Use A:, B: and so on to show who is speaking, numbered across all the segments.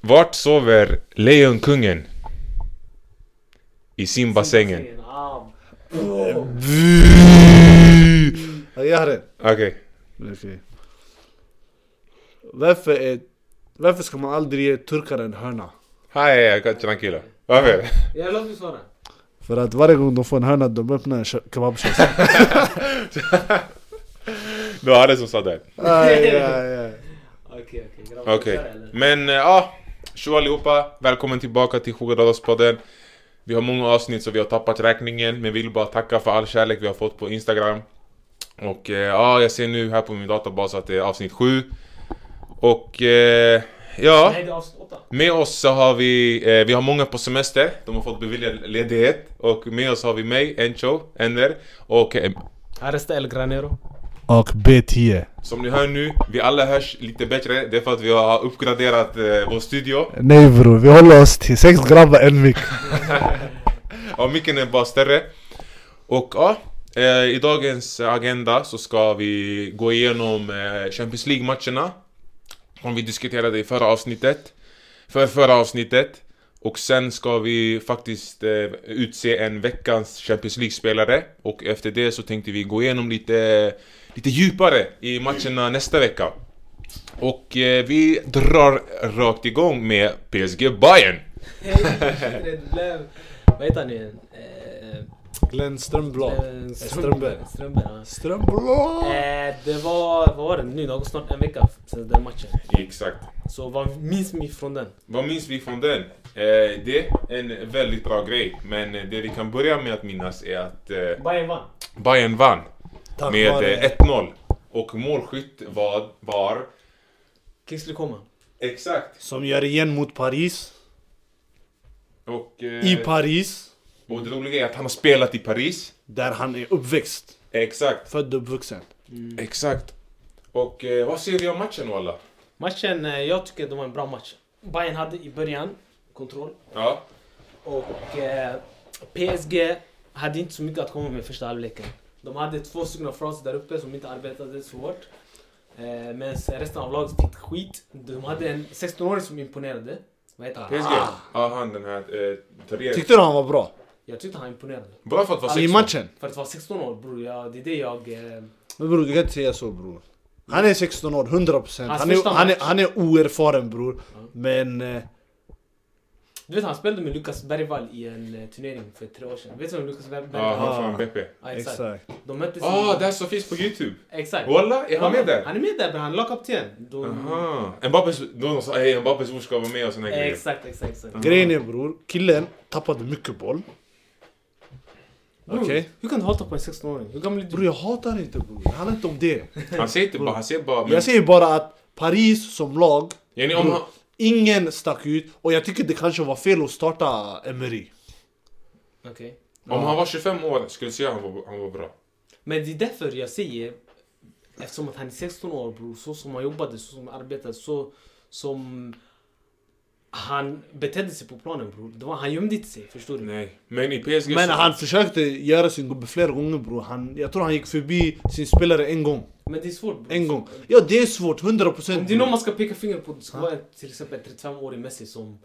A: Vart sover Lejonkungen? I simbassängen.
B: Ah,
C: Jag gör det.
A: Okej.
C: Okej. Varför är... Varför ska man aldrig ge turkar en hörna?
A: Hej, jag kan tranquilo. Varför?
B: Jag låter svara.
C: För att varje gång de får en hörna, de öppnar en kö- kebabkiosk.
A: Det var det som sa det.
C: Aj, aj, aj.
B: Okej, okej. grabbar,
A: Okej.
B: kör, eller?
A: Men eh, ja, tjo allihopa. Välkommen tillbaka till Sjugadalaspodden. Vi har många avsnitt så vi har tappat räkningen. Men vi vill bara tacka för all kärlek vi har fått på Instagram. Och eh, ja, jag ser nu här på min databas att det är avsnitt 7. Och eh, ja.
B: Nej, det är avsnitt åtta.
A: Med oss så har vi, eh, vi har många på semester, de har fått beviljad ledighet och med oss har vi mig, Encho, Ender och eh,
B: Arresta El Granero.
C: Och E. B10.
A: som ni hör nu, vi alla hörs lite bättre, det är för att vi har uppgraderat eh, vår studio
C: Nej bror, vi håller oss till sex grabbar en mick.
A: och micken är bara större. Och ja, eh, i dagens agenda så ska vi gå igenom eh, Champions League-matcherna som vi diskuterade i förra avsnittet, för förra avsnittet. Och sen ska vi faktiskt eh, utse en veckans Champions League-spelare och efter det så tänkte vi gå igenom lite, lite djupare i matcherna nästa vecka. Och eh, vi drar rakt igång med PSG Bayern.
B: Det blev... Vad heter han nu igen? Eh, eh,
C: Glenn Strömblad.
B: Ström-
C: Strömberg.
B: Strömberg, ja.
C: Strömblad!
B: Eh, Det var, vad var det nu? Någon snart en vecka sedan den matchen.
A: Exakt.
B: Så vad minns vi från den?
A: Vad minns vi från den? Eh, det är en väldigt bra grej, men det vi kan börja med att minnas är att eh,
B: Bayern vann.
A: Bayern vann
C: Tack
A: med
C: vare-
A: eh, 1-0 och målskytt var, var
B: Kingsley Coman.
A: exakt
C: Som gör igen mot Paris.
A: och,
C: I
A: eh,
C: Paris.
A: och det roliga är att han har spelat i Paris.
C: Där han är uppväxt.
A: Exakt,
C: Född och uppvuxen.
A: exakt. Och eh, vad ser vi om matchen walla?
B: Matchen, eh, jag tycker det var en bra match. Bayern hade i början kontroll
A: Ja,
B: och eh, PSG hade inte så mycket att komma med första halvleken. De hade två stycken fraser där uppe som inte arbetade så hårt. Eh, men resten av laget fick skit. De hade en 16-åring som imponerade. Vad heter han?
A: PSG. Ja, han den här eh, Therese.
C: Ah. Tyckte du han var bra?
B: Jag tyckte han imponerade.
A: Bra för att vara
C: I
A: 16.
C: matchen?
B: För att vara 16 år bror, ja, det är det jag... Eh,
C: Men bror, du kan inte säga så bror. Han är 16 år, 100%.
B: Hans
C: Han är,
B: första
C: han är,
B: match.
C: han är oerfaren bror. Men... Eh,
B: du vet han spelade med Lukas Bergvall i en eh, turnering för tre år sedan. Vet du vem Lukas Ber- Bergvall
A: Ja,
B: är?
A: han
C: Ah.
A: från BP.
B: Ja, exakt.
C: exakt.
B: De möttes
A: Ah, det här som finns på Youtube.
B: Exakt.
A: Walla, är han med där?
B: Han är med där bra, han är lagkapten. De-
A: Aha. Mbappes, då sa hej Mbappes mor ska vara med och såna här grejer.
B: Exakt, exakt, exakt.
C: Grejen är bror, killen tappade mycket boll. Okej?
B: Bror, Hur kan du hata på en 16-åring? Hur gammal är
C: Bror
B: du?
C: jag hatar inte bror, det handlar inte om det.
A: Han säger inte bara, han säger bara... Men,
C: Jag säger bara att Paris som lag,
A: Jenny, om han,
C: ingen stack ut. Och jag tycker det kanske var fel att starta Emery.
B: Okej.
A: om han var 25 år skulle jag säga att han var, han var bra.
B: Men det är därför jag säger, eftersom att han är 16 år bror, så som han jobbade, så som han arbetade, så som han betedde sig på planen bror. Det var, han gömde inte sig, förstår du?
A: Nej. Men i PSG
C: Men
A: så,
C: han försökte göra sin gubbe flera gånger bror. Han, jag tror han gick förbi sin spelare en gång.
B: Men det är svårt bror.
C: En gång. Ja det är svårt, 100%
B: Om det är någon
C: procent.
B: man ska peka finger på, det ska vara till exempel 35-årig Messi som...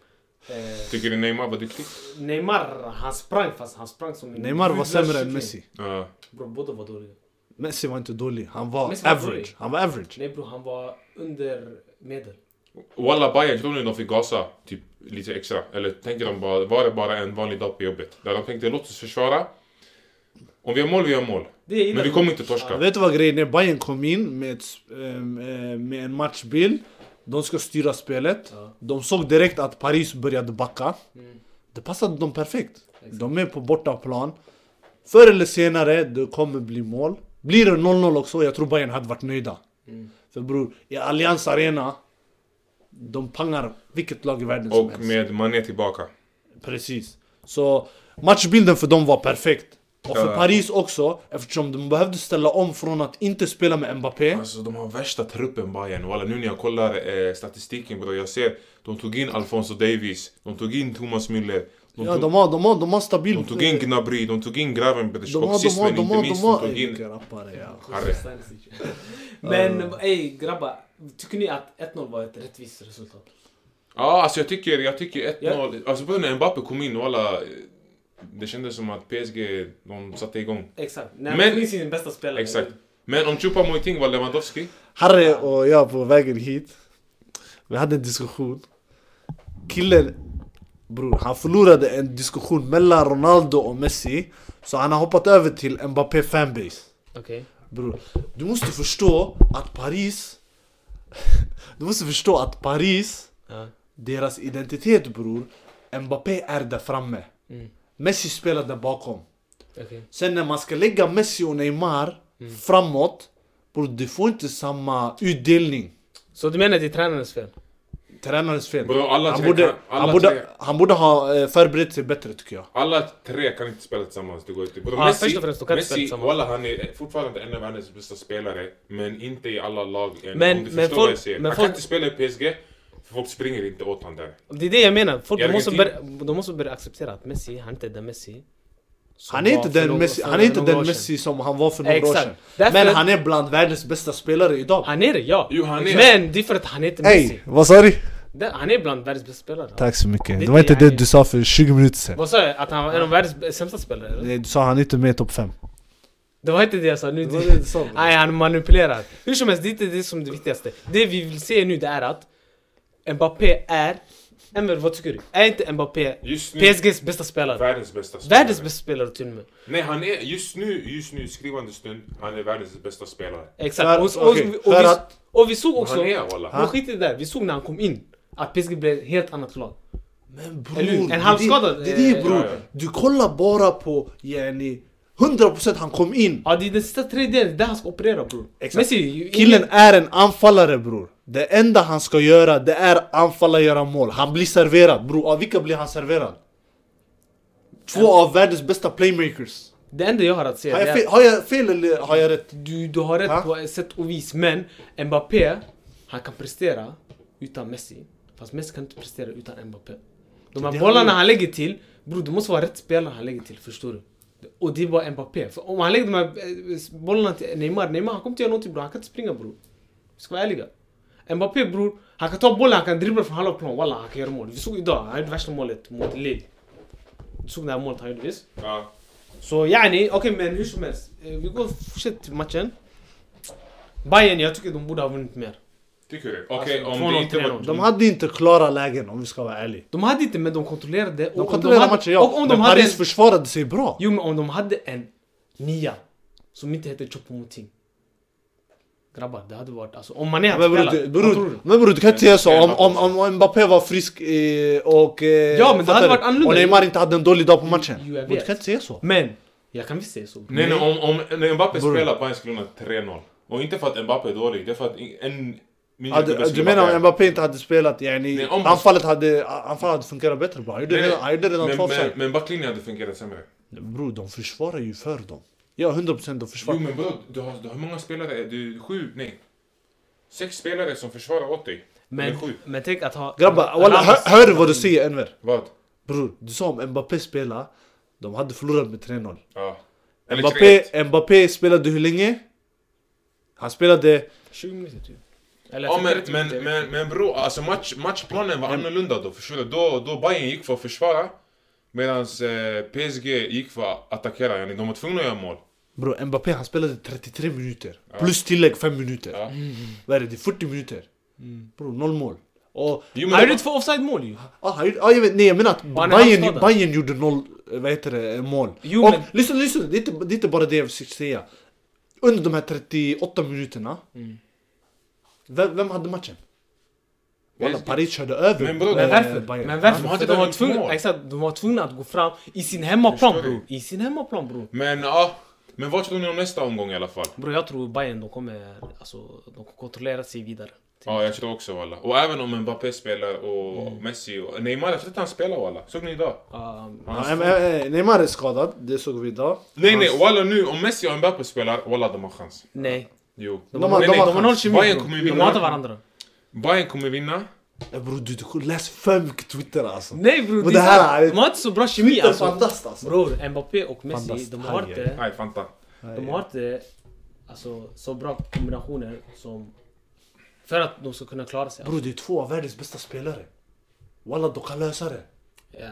B: Eh,
A: Tycker du Neymar var duktig?
B: Neymar, han sprang fast han sprang som en
C: Neymar var
B: gudlös
C: sämre än
B: kyckling.
C: Messi.
A: Ja.
B: Bror, båda var dåliga.
C: Messi var inte dålig, han var
B: Messi var
C: average.
B: dålig.
C: Han var average.
B: Nej bror, han var under medel.
A: Walla Bayern, tror ni de fick gasa typ lite extra? Eller tänkte de bara, var det bara en vanlig dag på jobbet? Där de tänkte låt oss försvara. Om vi gör mål, vi gör mål.
B: Det är
A: Men vi kommer inte torska.
C: Vet du vad grejen är? Bayern kom in med, ett, ehm, eh, med en matchbild. De ska styra spelet.
B: Ja.
C: De såg direkt att Paris började backa.
B: Mm.
C: Det passade dem perfekt. De är på bortaplan. Förr eller senare, det kommer bli mål. Blir det 0-0 också, jag tror Bayern hade varit nöjda.
B: Mm.
C: För bror, i Allianz Arena, de pangar vilket lag i världen som
A: Och
C: helst.
A: med Mané tillbaka.
C: Precis. Så matchbilden för dem var perfekt. Och för
A: Ja.
C: Paris också, eftersom de behövde ställa om från att inte spela med Mbappé.
A: Alltså de har värsta truppen Bayern. Walla, nu när jag kollar eh, statistiken bror, jag ser de tog in Alfonso Davies, de tog in Thomas Müller, de
C: Ja,
A: tog
C: de har, de har, de har stabil...
A: De tog in Gnabry, de tog in Gravenberg
C: de har,
A: och sist
C: de har,
A: men
C: de
A: inte
C: har, de
A: minst
C: har...
A: de tog
C: Vilka
A: in...
C: rappare, ja.
A: Harry. Um.
B: Men ey grabbar, tycker ni att 1-0 var ett rättvist resultat?
A: Ja, alltså jag tycker, jag tycker 1-0. Alltså på när Mbappe kom in, alla, Det kändes som att PSG, de satte igång.
B: Exakt. När
A: Men-
B: man får in sin bästa spelare.
A: Exakt. Men om Chupa Moiting var Lewandowski.
C: Harry och jag på vägen hit, vi hade en diskussion. Killen, bror, han förlorade en diskussion mellan Ronaldo och Messi. Så han har hoppat över till Mbappé fanbase.
B: Okej.
C: Bror, du måste förstå att Paris... Du måste förstå att Paris,
B: Ja.
C: deras identitet bror, Mbappé är där framme.
B: Mm.
C: Messi spelar där bakom.
B: Okej.
C: Sen när man ska lägga Messi och Neymar
B: Mm.
C: framåt, bror du får inte samma utdelning.
B: Så du menar det är tränarens fel?
C: Tränarens fel.
A: Bro, alla
C: han,
A: tre
C: borde,
A: kan- alla
C: han, borde,
A: tre.
C: han borde ha eh, förberett sig bättre tycker jag.
A: Alla tre kan inte spela tillsammans, det går inte. Både
B: Ja,
A: Messi,
B: först och främst, de kan inte spela
A: Messi
B: tillsammans.
A: walla, han är fortfarande en av världens bästa spelare, men inte i alla lag än.
B: Men-
A: om du
B: men
A: förstår
B: folk-
A: vad jag säger.
B: men
A: han
B: folk-
A: kan inte spela i PSG, för folk springer inte åt honom där.
B: Det är det jag menar. Folk,
A: I
B: de, måste börja,
A: Argentina-
B: de måste börja acceptera att Messi, han inte är den Messi. som
C: Han är
B: var
C: inte
B: för
C: den
B: några-
C: Messi,
B: för
C: han är inte
B: några
C: den
B: år sedan.
C: Messi som han var för några år
B: Exakt.
C: sedan.
B: Därför-
C: Men han är bland världens bästa spelare idag.
B: Han är det, ja.
A: Jo, han är-
B: Men det är för att han är inte Messi.
C: Hej, vad sa du?
B: Den- Han är bland världens bästa spelare.
C: Tack så mycket.
B: Det
C: Det var inte
B: är-
C: det du sa för 20 minuter sedan.
B: Vad sa jag? Att han var en av världens b- sämsta spelare? eller?
C: Nej, Du sa han är inte med i topp 5.
B: Det var inte det jag sa. Nu,
C: var det du sa, bro.
B: Nej, han manipulerar. Hur som helst, det är inte det som är det viktigaste. Det vi vill se nu det är att Mbappé är... Emil, vad tycker du? Är inte Mbappé
A: Just nu,
B: PSGs bästa spelare?
A: världens bästa spelare.
B: Världens bästa spelare till och med.
A: Nej, han är just nu, just nu, skrivande stund, han är världens bästa spelare.
B: Exakt.
C: För-
B: Och, och, och,
C: okej,
B: vi- och,
C: för
B: vi,
C: att-
B: och vi såg också...
A: Han är alltså. walla.
B: Men skit i det där, vi såg när han kom in att PSG blev ett helt annat lag.
C: Men
B: Eller hur? En
C: bror,
B: halvskadad,
C: det, det är det
B: eh,
C: bror.
A: ja, ja.
C: Du kollar bara på yani 100% han kom in.
B: Ja, det är den sista tredjedelen, det är där han ska operera bror.
C: Exakt.
B: Messi,
C: Killen är en anfallare bror. Det enda han ska göra det är anfalla och göra mål. Han blir serverad bror. Av vilka blir han serverad? Två av världens bästa playmakers.
B: det enda jag har att säga
C: Har
B: det
C: jag
B: är
C: fel, har jag fel eller har jag rätt?
B: du, du har rätt
C: Ha?
B: på ett sätt och vis, men Mbappé, han kan prestera utan Messi. Fast Messi kan inte prestera utan Mbappé. De
C: Det
B: här
C: har
B: bollarna
C: vi-
B: han lägger till, bror det måste vara rätt spelare han lägger till, förstår du? Och det är bara Mbappé. För om han lägger de här eh, bollarna till Neymar, Neymar han kommer inte göra någonting bror, han kan inte springa bror. Vi ska vara ärliga. Mbappé bror, han kan ta bollen, han kan dribbla från halva plan, walla han kan göra mål. Vi såg idag, han gjorde värsta målet mot Lille. Du såg det här målet han gjorde visst?
A: Ja.
B: Så yani, okej men hur som helst. Eh, Vi går fortsätt till matchen. Bayern, jag tycker de borde ha vunnit mer.
A: Tycker du? Okej,
B: Alltså,
A: om
B: 2-0,
A: det inte var...
B: 3-0.
C: De hade inte klara lägen om vi ska vara ärliga.
B: De hade inte men de kontrollerade. och
C: De
B: om
C: kontrollerade
B: hade-
C: matchen ja.
B: Och om de
C: men
B: hade
C: Paris
B: en,
C: försvarade sig bra.
B: Jo men om de hade en nia som inte hette Choupo-Moting. Grabbar, det hade varit alltså om man är
C: Men bror, du, bror, men bror, du kan inte säga så. Om, om, om, om Mbappé var frisk eh, och... Eh,
B: Ja, men det hade
C: fattar du?
B: varit annorlunda.
C: Och Neymar inte hade en dålig dag på matchen.
B: Jo, jag
C: Bror, Du
B: vet.
C: kan inte säga så.
B: Men, jag kan visst säga så.
A: Nej, nej, om, om när Mbappé
C: Bror.
A: spelar Bayern skulle vinna 3-0. Och inte för att Mbappé är dålig, det är för att in- en... mindre
C: Ja,
A: gubbe
C: du,
A: skulle
C: du menar
A: vara
C: om Mbappé inte hade spelat, yani,
A: Nej, om-
C: anfallet, hade, anfallet hade fungerat bättre bra. Han gjorde
A: Nej, nej.
C: redan, han gjorde redan
A: Men,
C: två
A: men,
C: offside.
A: men backlinjen hade fungerat sämre.
C: Bror, de försvarar ju för dem. Ja, 100% de
A: Jo
C: försvarar.
A: men bro, du har, du har många spelare, du sju, nej. Sex spelare som försvarar åt dig.
B: Men,
A: Eller sju.
B: men tänk att ha...
C: Grabbar, walla, hör, hör du vad du säger Enver?
A: Vad?
C: Bror, du sa om Mbappé spelar, de hade förlorat med 3-0.
A: Ja. Eller tre, ett.
C: Mbappé, Mbappé spelade hur länge? Han spelade...
B: 20 minuter typ. Eller
A: Ja, men,
B: 30
A: men,
B: minuter.
A: men, men bro, alltså match, matchplanen var annorlunda då. Förstår du? Då, då Bayern gick för att försvara. Medan eh, PSG gick för att attackera. yani. De var tvungna att göra mål.
C: Bror, Mbappé han spelade 33 minuter. Plus tillägg 5 minuter.
A: Ja.
C: Vad är det? Det är 40 minuter. Bror, noll mål. Och Ah,
A: Jo,
B: Han
A: men,
B: gjorde två offside-mål ju.
C: Ja, han gjorde- ja, jag vet, nej jag menar att
B: han är
C: Bayern,
B: halvskadad.
C: Bayern gjorde noll, eh, vad heter det, eh, mål.
B: Jo,
C: och
B: men-
C: lyssna, lyssna, det är, inte, det är inte bara det jag försöker säga. Under de här 38 minuterna,
B: Mm.
C: vem, vem hade matchen? Walla,
A: PSG.
C: Paris körde över
A: Men bror,
C: eh,
B: Men varför?
C: Bayern.
B: Men
A: De
B: varför?
A: hade
B: För de,
A: väl
B: var
A: gjort mål?
B: tvungna, exakt, de var tvungna att gå fram i sin hemmaplan
A: Förstår du?
B: bror. I sin hemmaplan bror.
A: men ja. Men vad tror ni om nästa omgång i alla fall?
B: Bror jag tror Bayern de kommer, alltså, de kommer kontrollera sig vidare.
A: Ja, jag tror också walla. Och även om Mbappé spelar och Messi och Neymar, jag tror inte han spelar walla. Såg ni idag?
B: Um,
A: Han
C: Ja, men, eh, Neymar är skadad, det såg vi idag.
A: Nej
C: alltså-
A: nej, walla nu om Messi och Mbappé spelar, walla de har chans.
B: nej.
A: Jo.
C: De har-
A: nej,
C: de
A: nej,
C: har
B: De har noll kemi
A: Bayern
B: bror.
A: kommer
B: De
A: vinna.
B: hatar varandra.
A: Bayern kommer vinna.
C: Eh, Bror du, du läs för mycket Twitter alltså.
B: Nej bror,
C: Men
B: det
C: det här
B: är
C: är-
B: de har inte så bra kemi
C: Twitter är
B: alltså.
C: fantast alltså.
B: Bror, Mbappé och Messi,
C: Fantast.
B: de har
C: Aj,
B: inte,
A: Nej, Fanta.
B: de har inte alltså, så bra kombinationer som... För att de ska kunna klara sig.
C: Bror det är två av världens bästa spelare. Walla, de kan lösa det.
B: Ja.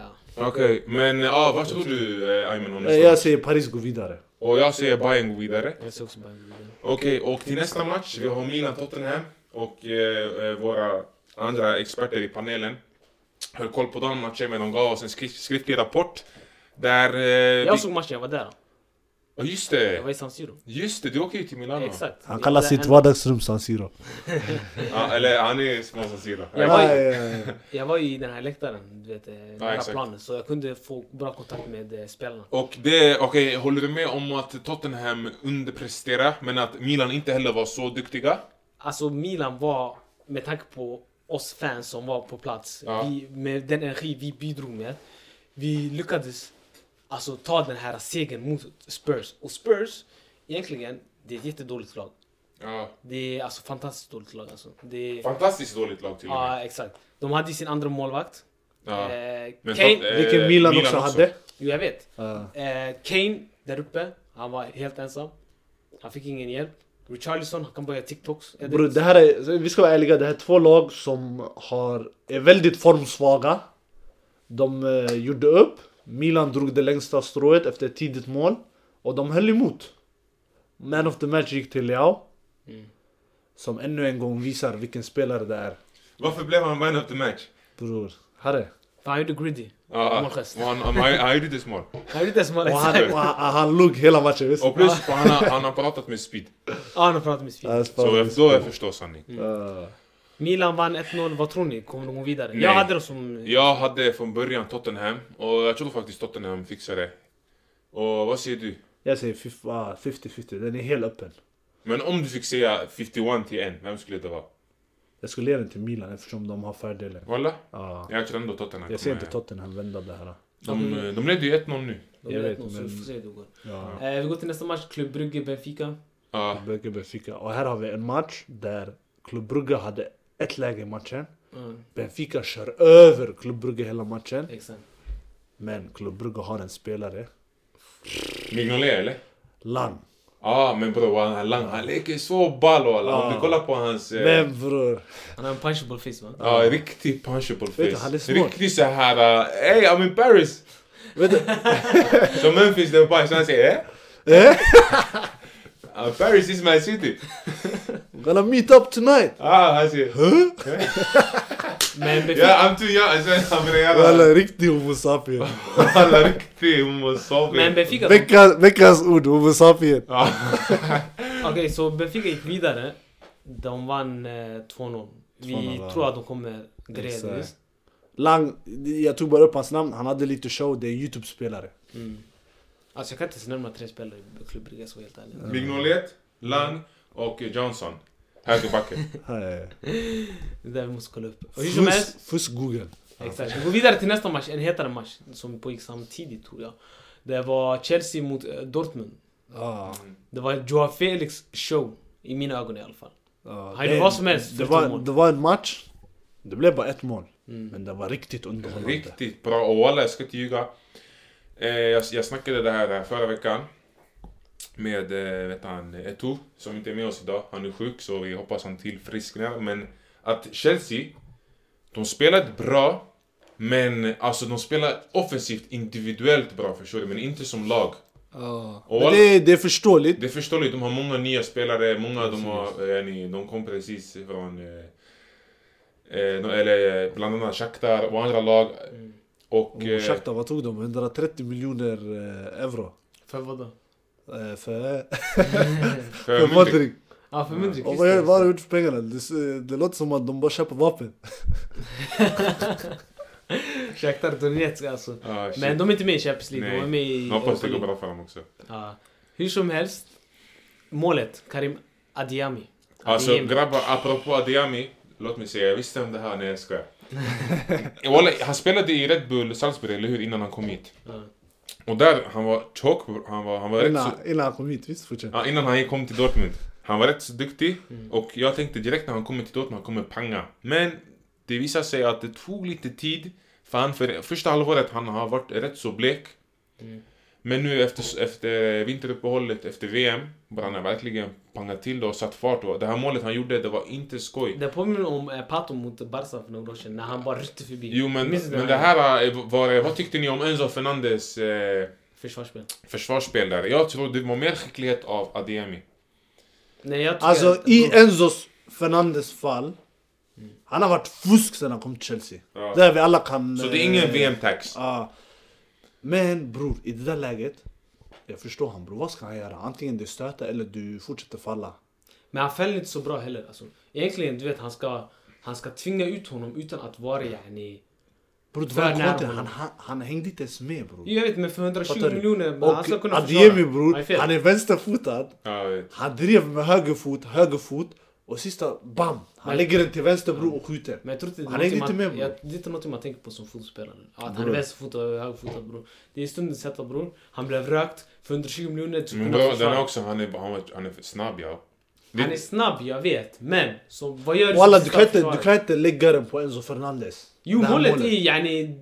A: Okej, men ja, vad tror du eh, Ayman om
C: Eh,
A: nästa
C: Jag
A: match?
C: säger Paris går vidare.
A: Och jag säger Bayern går vidare.
B: Jag ser också Bayern vidare.
A: Okej, och till nästa match, vi har Milan-Tottenham och eh, eh, våra andra experter i panelen höll koll på den matchen, men de gav oss en skri- skriftlig rapport där... Eh, vi...
B: Jag såg matchen, jag var där.
A: Ja, just
B: Jag var
A: det!
B: i San Siro.
A: Just det, du åker ju till Milano.
B: Exakt.
C: Han kallar
B: Jag-
C: sitt vardagsrum San Siro.
A: Ja, eller han är små som Sira.
B: Jag
C: Ja,
B: var-
C: ja, ja.
B: Jag var i den här läktaren, du vet, eh, nära
A: exakt.
B: planen. Så jag kunde få bra kontakt med eh, spelarna.
A: Och det, okej, håller du med om att Tottenham underpresterade, men att Milan inte heller var så duktiga?
B: Alltså Milan var, med tanke på oss fans som var på plats,
A: Ja.
B: vi, med den energi vi bidrog med. Vi lyckades alltså, ta den här segern mot Spurs. Och Spurs, egentligen, det är ett jättedåligt lag.
A: Ja,
B: Det är alltså fantastiskt dåligt lag. Alltså. Det är,
A: fantastiskt dåligt lag till och med.
B: ja, exakt. De hade ju sin andra målvakt.
A: Ja.
B: Eh,
A: Men
B: Kane,
A: Tot- eh,
C: Vilken Milan också hade.
B: jo jag vet.
C: Ja.
B: Eh, Kane där uppe, han var helt ensam. Han fick ingen hjälp. Richarlison, han kan börja TikToks. Är det-
C: Bro, det här är, vi ska vara ärliga, det här är två lag som har, är väldigt formsvaga. De eh, gjorde upp, Milan drog det längsta strået efter ett tidigt mål. Och de höll emot. Man of the match gick till Leao.
B: Mm.
C: Som ännu en gång visar vilken spelare det är.
A: Varför blev han man of the match?
C: Bror, herre.
B: Fan, han gjorde griddy.
A: Ja,
B: Målgest.
A: han- han han gjorde det smart.
B: Han gjorde inte ens mål.
C: Och
B: exakt.
C: han, och han, han log hela matchen visst?
A: Och plus, han, har, han har pratat med Speed.
B: Ja, han har pratat med Sofia.
C: Ja,
A: Så
C: spelare.
A: jag, då jag förstår sanning.
C: Ja.
B: Milan vann 1-0. Vad tror ni? Kommer de gå vidare?
A: Nej.
B: Jag hade dem som...
A: Jag hade från början Tottenham, och jag tror faktiskt Tottenham fixar det. Och vad säger du?
C: Jag säger fif- ah, 50-50, den är helt öppen.
A: Men om du fick säga 51 till 1, vem skulle det vara?
C: Jag skulle ge den till Milan eftersom de har fördelen.
A: Walla?
C: Ja.
A: Jag tror ändå Tottenham
C: Jag ser
A: kommer-
C: inte Tottenham vända det här.
A: De, de ledde ju 1-0 nu.
B: De
C: jag
B: är
C: vet,
B: 1-0, så
C: men-
B: vi får se hur det går.
C: Ja.
B: Eh, vi går till nästa match. Klubb Brygge, Benfica.
A: Ja,
C: Brugge Benfica. Och här har vi en match där Club Brugge hade ett läge i matchen.
B: Mm,
C: Benfica kör över Club Brugge hela matchen.
B: exakt.
C: Men Club Brugge har en spelare.
A: Mignolet eller?
C: Lang.
A: Eh. Ja, Ah, men bror han, han, lang- han leker så ball och alla. Om
C: Ja.
A: du kollar på hans... eh,
C: Ah. Men bror.
B: Han har en punchable face va?
A: Ja, riktig punchable
C: Vet du, han är
A: face.
C: smart.
A: Riktig såhär... Uh, hey, I'm in Paris!
C: Vet du?
A: Så Memphis, det var bara så han säger eh?
C: Eh?
A: Uh, Paris is my city.
C: Gonna meet up tonight.
A: Ah, han säger...
C: Huh?
B: Men Benfica...
A: Ja, I'm too young. Sen han börjar
C: Walla
A: göra...
C: riktig homo sapien.
A: Alla riktig homo
B: Men
A: sapiens.
B: Benfica... Okej,
C: Veckans, veckans ord, homo sapien.
A: Ja.
B: så Benfica gick vidare. De vann eh, 2-0. Vi
C: 2-0, va?
B: tror att de kommer greja det.
C: Exakt. Lang, jag tog bara upp hans namn. Han hade lite show, det är Youtube-spelare.
B: Mm. Alltså jag kan inte ens nämna tre spelare i Klubb Brygge, jag ska vara helt ärlig.
A: Mignolet, Lang och Johnson. Högerbacken.
C: Eh,
B: Det där vi måste kolla upp. Och hur som helst,
C: Fusk, fusk Google.
B: Exakt. Vi går vidare till nästa match, en hetare match som pågick samtidigt tror jag. Det var Chelsea mot eh, Dortmund.
C: Ah.
B: Det var Joao Felix show, i mina ögon i alla fall.
C: Ja,
B: Han gjorde vad som helst
C: det,
B: förutom
C: var,
B: mål. Mm.
C: det var en match, det blev bara ett mål. Men det var riktigt underhållande.
A: Riktigt bra. Och walla, jag ska inte ljuga. Eh, jag, jag snackade det här eh, förra veckan. Med, eh, vet han, Eto'o, som inte är med oss idag. Han är sjuk, så vi hoppas han tillfrisknar. Men att Chelsea, de spelade bra. Men alltså de spelar offensivt individuellt bra förstår du, men inte som lag. Och
C: Men det, det är förståeligt.
A: Det är förståeligt, de har många nya spelare, många av dem har, eh, ni, de kom precis från, eh, eh, no- eller eh, bland annat Shakhtar och andra lag. Och,
C: Och
A: eh,
C: Shakhtar, vad tog de? 130 miljoner eh, euro.
B: För vadå?
C: Eh, För,
A: för
C: för
A: Mudrik.
C: Modric.
B: Ja,
A: Mm.
B: för Mudrik.
C: Och
B: just
C: vad
B: det.
C: gör- vad har de gjort för pengarna? Det, s- det låter som att de bara köper vapen.
B: Shakhtar Donetsk alltså.
A: Ah, shit.
B: Men de är inte med i Champions League,
A: Nej.
B: de är med i...
A: Jag hoppas det går
B: Europa
A: bra för dem också.
B: League. Ja. Hur som helst, målet, Karim Adiami.
A: Alltså
B: Adiemi.
A: grabbar, apropå Adiami, låt mig säga, jag visste om det här, nej jag skojar. Walla, han spelade i Red Bull Salzburg, eller hur? Innan han kom hit.
B: Ja.
A: Och där, han var chock, han var, han var rätt så...
C: Innan, innan han kom hit, visst? Fortsätt.
A: Ja, innan han kom till Dortmund. Han var rätt så duktig och jag tänkte direkt när han kommer till Dortmund, han kommer panga. Men det visar sig att det tog lite tid för han för första halvåret han har varit rätt så blek. Men nu efter, efter vinteruppehållet, efter VM, började han verkligen panga till det och satt fart. Och det här målet han gjorde, det var inte skoj.
B: Det påminner om eh, Pato mot Barca för några år sedan när han bara ryckte förbi.
A: Jo men,
B: Minns du
A: men det här, eh, var, vad tyckte ni om Enzo Fernandes eh,
B: Försvarsspel.
A: försvarsspel där? Jag tror det var mer skicklighet av Ademi.
B: Nej, jag tycker
C: Alltså
B: att-
C: i Enzos Fernandes fall. Han har varit fusk sen han kom till Chelsea.
A: Ja.
C: Där vi alla kan...
A: Så det är
C: eh,
A: ingen VM-tax.
C: Ja. Men bror, i det där läget. Jag förstår han bror, vad ska han göra? Antingen du stöter eller du fortsätter falla.
B: Men han fäller inte så bra heller. Alltså. Egentligen, du vet, han ska, han ska tvinga ut honom utan att vara E. yani...
C: Bror, det
B: Var
C: var
B: nära
C: konten,
B: honom.
C: han, han, han hängde inte ens med bror.
B: Jag vet, men för 120
C: Fattar du?
B: miljoner, men han ska
C: Och
B: kunna
C: Adiemi
B: försvara.
C: bror,
B: Nej, fel.
C: han är vänsterfotad.
A: Ja, jag vet.
C: Han drev med höger fot, höger fot. Och sista, bam! Han
B: Men-
C: lägger den till vänster bror och skjuter.
B: Men jag tror inte det är
C: Han hängde
B: någonting
C: inte
B: man,
C: med, bror.
B: jag, det är inte någonting man tänker på som fotbollsspelare. Att han är
C: Bror.
B: vänsterfotad och högerfotad bror. Det är stundens hetta bror. Han blev rökt för 120 miljoner. Du
A: Men
B: kunde
A: bro, den
B: försvara.
A: är också, han är, han är, han är för snabb ja. Det-
B: Han är snabb, jag vet. Men så, vad gör du
C: Walla
B: som
C: du
B: sista
C: kan, inte, du
B: försvarare?
C: kan inte lägga den på Enzo Fernandes.
B: Jo,
C: Det här
B: målet är yani... eh,
A: Nej,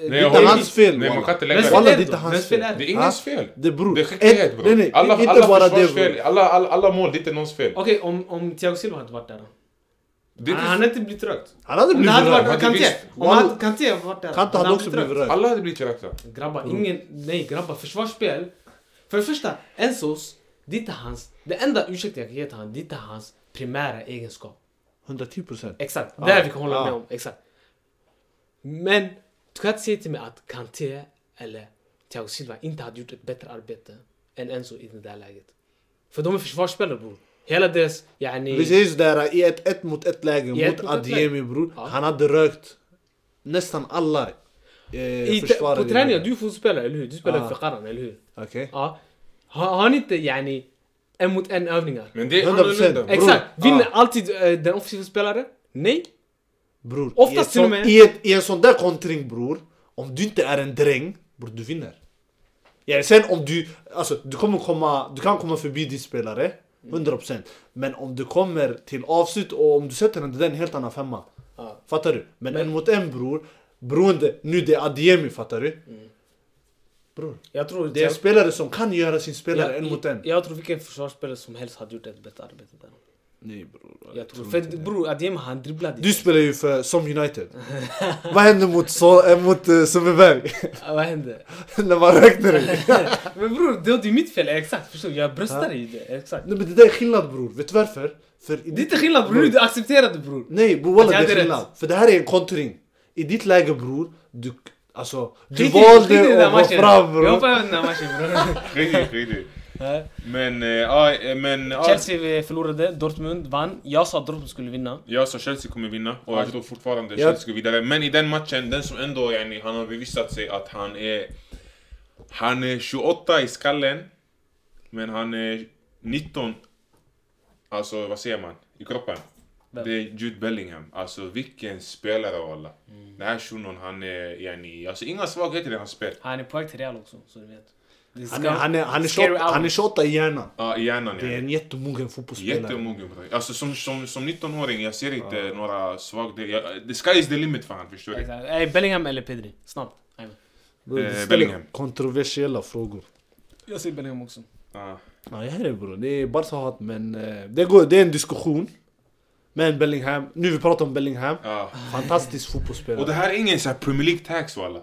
A: jag
C: Det
A: håller-
C: är
B: Davis.
C: hans fel
A: Nej man kan
C: walla.
A: inte lägga det.
B: Vems fel
C: Walla,
B: är
C: det
B: det
C: är inte
B: då?
C: hans
B: Vems fel
C: fel.
A: Det
B: är det?
A: är ingens fel.
C: ah, Det bror.
A: Det är skicklighet
C: Nej,
A: bror.
C: nej,
A: Alla,
C: inte
A: alla
C: bara det
A: försvarsfel,
C: bror. Ah,
A: alla, alla, alla mål, det är inte någons fel.
B: Okej, om, om Thiago Silva hade varit där då?
A: Det är
B: han
A: inte-
B: hade inte blivit rökt.
C: Han hade
B: Om det
C: blivit
B: hade
C: röd.
A: rökt.
B: varit Kanté.
A: Visst.
B: Om han-
C: Wall-
B: Kanté hade varit där.
C: Kante hade
B: han
C: också
B: blivit
C: blivit röd.
A: Alla hade blivit rökta.
B: rökt. Grabbar, ingen... Nej grabbar, försvarsspel. För det första, Enzos, det är inte hans... Det enda ursäkten jag kan ge till honom, det är inte hans primära egenskap.
C: 110 procent.
B: Exakt,
C: Ja.
B: där vi kan hålla
C: Ja.
B: med om. Exakt. Men du kan inte säga till mig att Kanté eller Thiago Silva inte hade gjort ett bättre arbete än Enzo i det där läget. För de är försvarsspelare bror. Hela deras, yani...
C: Precis där i ett ett mot ett läge
B: I ett
C: mot
B: mot ett
C: Adiemi bror.
B: Ja.
C: Han hade rökt nästan alla eh,
B: I, på
C: försvarare.
B: träningen, du är fotbollsspelare, eller hur? Du spelar
C: Ja.
B: för Qaran, eller hur?
C: Okej.
B: Ja. Har, har ni inte Ah. yani en mot en övningar?
A: Men det är
C: 100%.
A: annorlunda.
C: Bror,
B: Exakt!
C: ja.
B: Vinner alltid eh, den offensiva spelaren? Nej.
C: Bror.
B: Oftast
C: i ett
B: till
C: sån-
B: och med-
C: I, ett, I en sån där kontring bror. Om du inte är en dräng, bror du vinner. Ja, sen om du, alltså du kommer komma, du kan komma förbi din spelare. 100% Men om du kommer till avslut och om du sätter den, det är en helt annan femma.
B: Ja.
C: Fattar du? Men, en mot en bror, beroende, nu det är Adiemi fattar du?
B: Mm.
C: Bror,
B: Jag tror
C: det är en spelare som kan göra sin spelare en mot en.
B: Jag, jag tror vilken försvarsspelare som helst hade gjort ett bättre arbete där.
C: Nej bror.
B: Jag tror. För bror, Adiyemi han dribblade
C: Du spelar ju för som United. Vad händer mot, så, äh, mot uh, Sundbyberg?
B: Ah, Vad hände?
C: När man räknar det.
B: Men bror, det det är mitt fel. Exakt, förstår du? Jag bröstar i det. Exakt.
C: Nej men det där är skillnad bror, vet du varför? För i
B: Det är inte skillnad bror, nu du accepterar det bror.
C: Nej bror walla
B: Att jag
C: det är
B: hade
C: skillnad. För det här är en kontring. I ditt läge bror, du, alltså, du
B: Skit i- skit i den
C: valde
B: där
C: att gå
B: matchen.
C: fram
B: Jag
C: bror.
B: hoppar över den här matchen bror.
A: Skitig, skitig.
B: Ja.
A: Men, eh, ja, eh, men... ja.
B: Chelsea vi förlorade, Dortmund vann. Jag sa att Dortmund skulle vinna.
A: Jag sa Chelsea kommer vinna och jag tror fortfarande
C: Ja.
A: Chelsea går vidare. Men i den matchen, den som ändå, yani, han har bevisat sig att han är... Han är 28 i skallen, men han är 19, alltså vad säger man, i kroppen.
B: Vem?
A: Det är Jude Bellingham. Alltså vilken spelare walla.
C: Mm.
A: Den här shunon, han är, yani, alltså inga svagheter i hans spel.
B: Han är på väg till Real också, så du vet. Det
C: Han
B: ska-
C: är, han, är, han, är
B: Scary
C: 28, han är
B: hours.
C: 28 i hjärnan.
A: Ja, i hjärnan
C: Det är
A: yani.
C: en jättemogen fotbollsspelare.
A: Jättemogen bro. Alltså som, som, som 19-åring, jag ser inte några svagheter. Jag- The sky is the limit för han, förstår du?
B: Exakt. Eh, Bellingham eller Pedri? Snabbt. Amen.
C: Bror, du
A: Eh,
C: ställer
A: Bellingham.
C: Kontroversiella frågor.
B: Jag säger Bellingham också.
A: Ja.
C: Ja, jag hör det bror. Det är Barca-hat men eh, det, går, det är en diskussion. Men Bellingham, nu vi pratar om Bellingham.
A: Ja.
C: Fantastisk
A: Och det
C: fotbollsspelare.
A: här är ingen så här Premier League tax walla.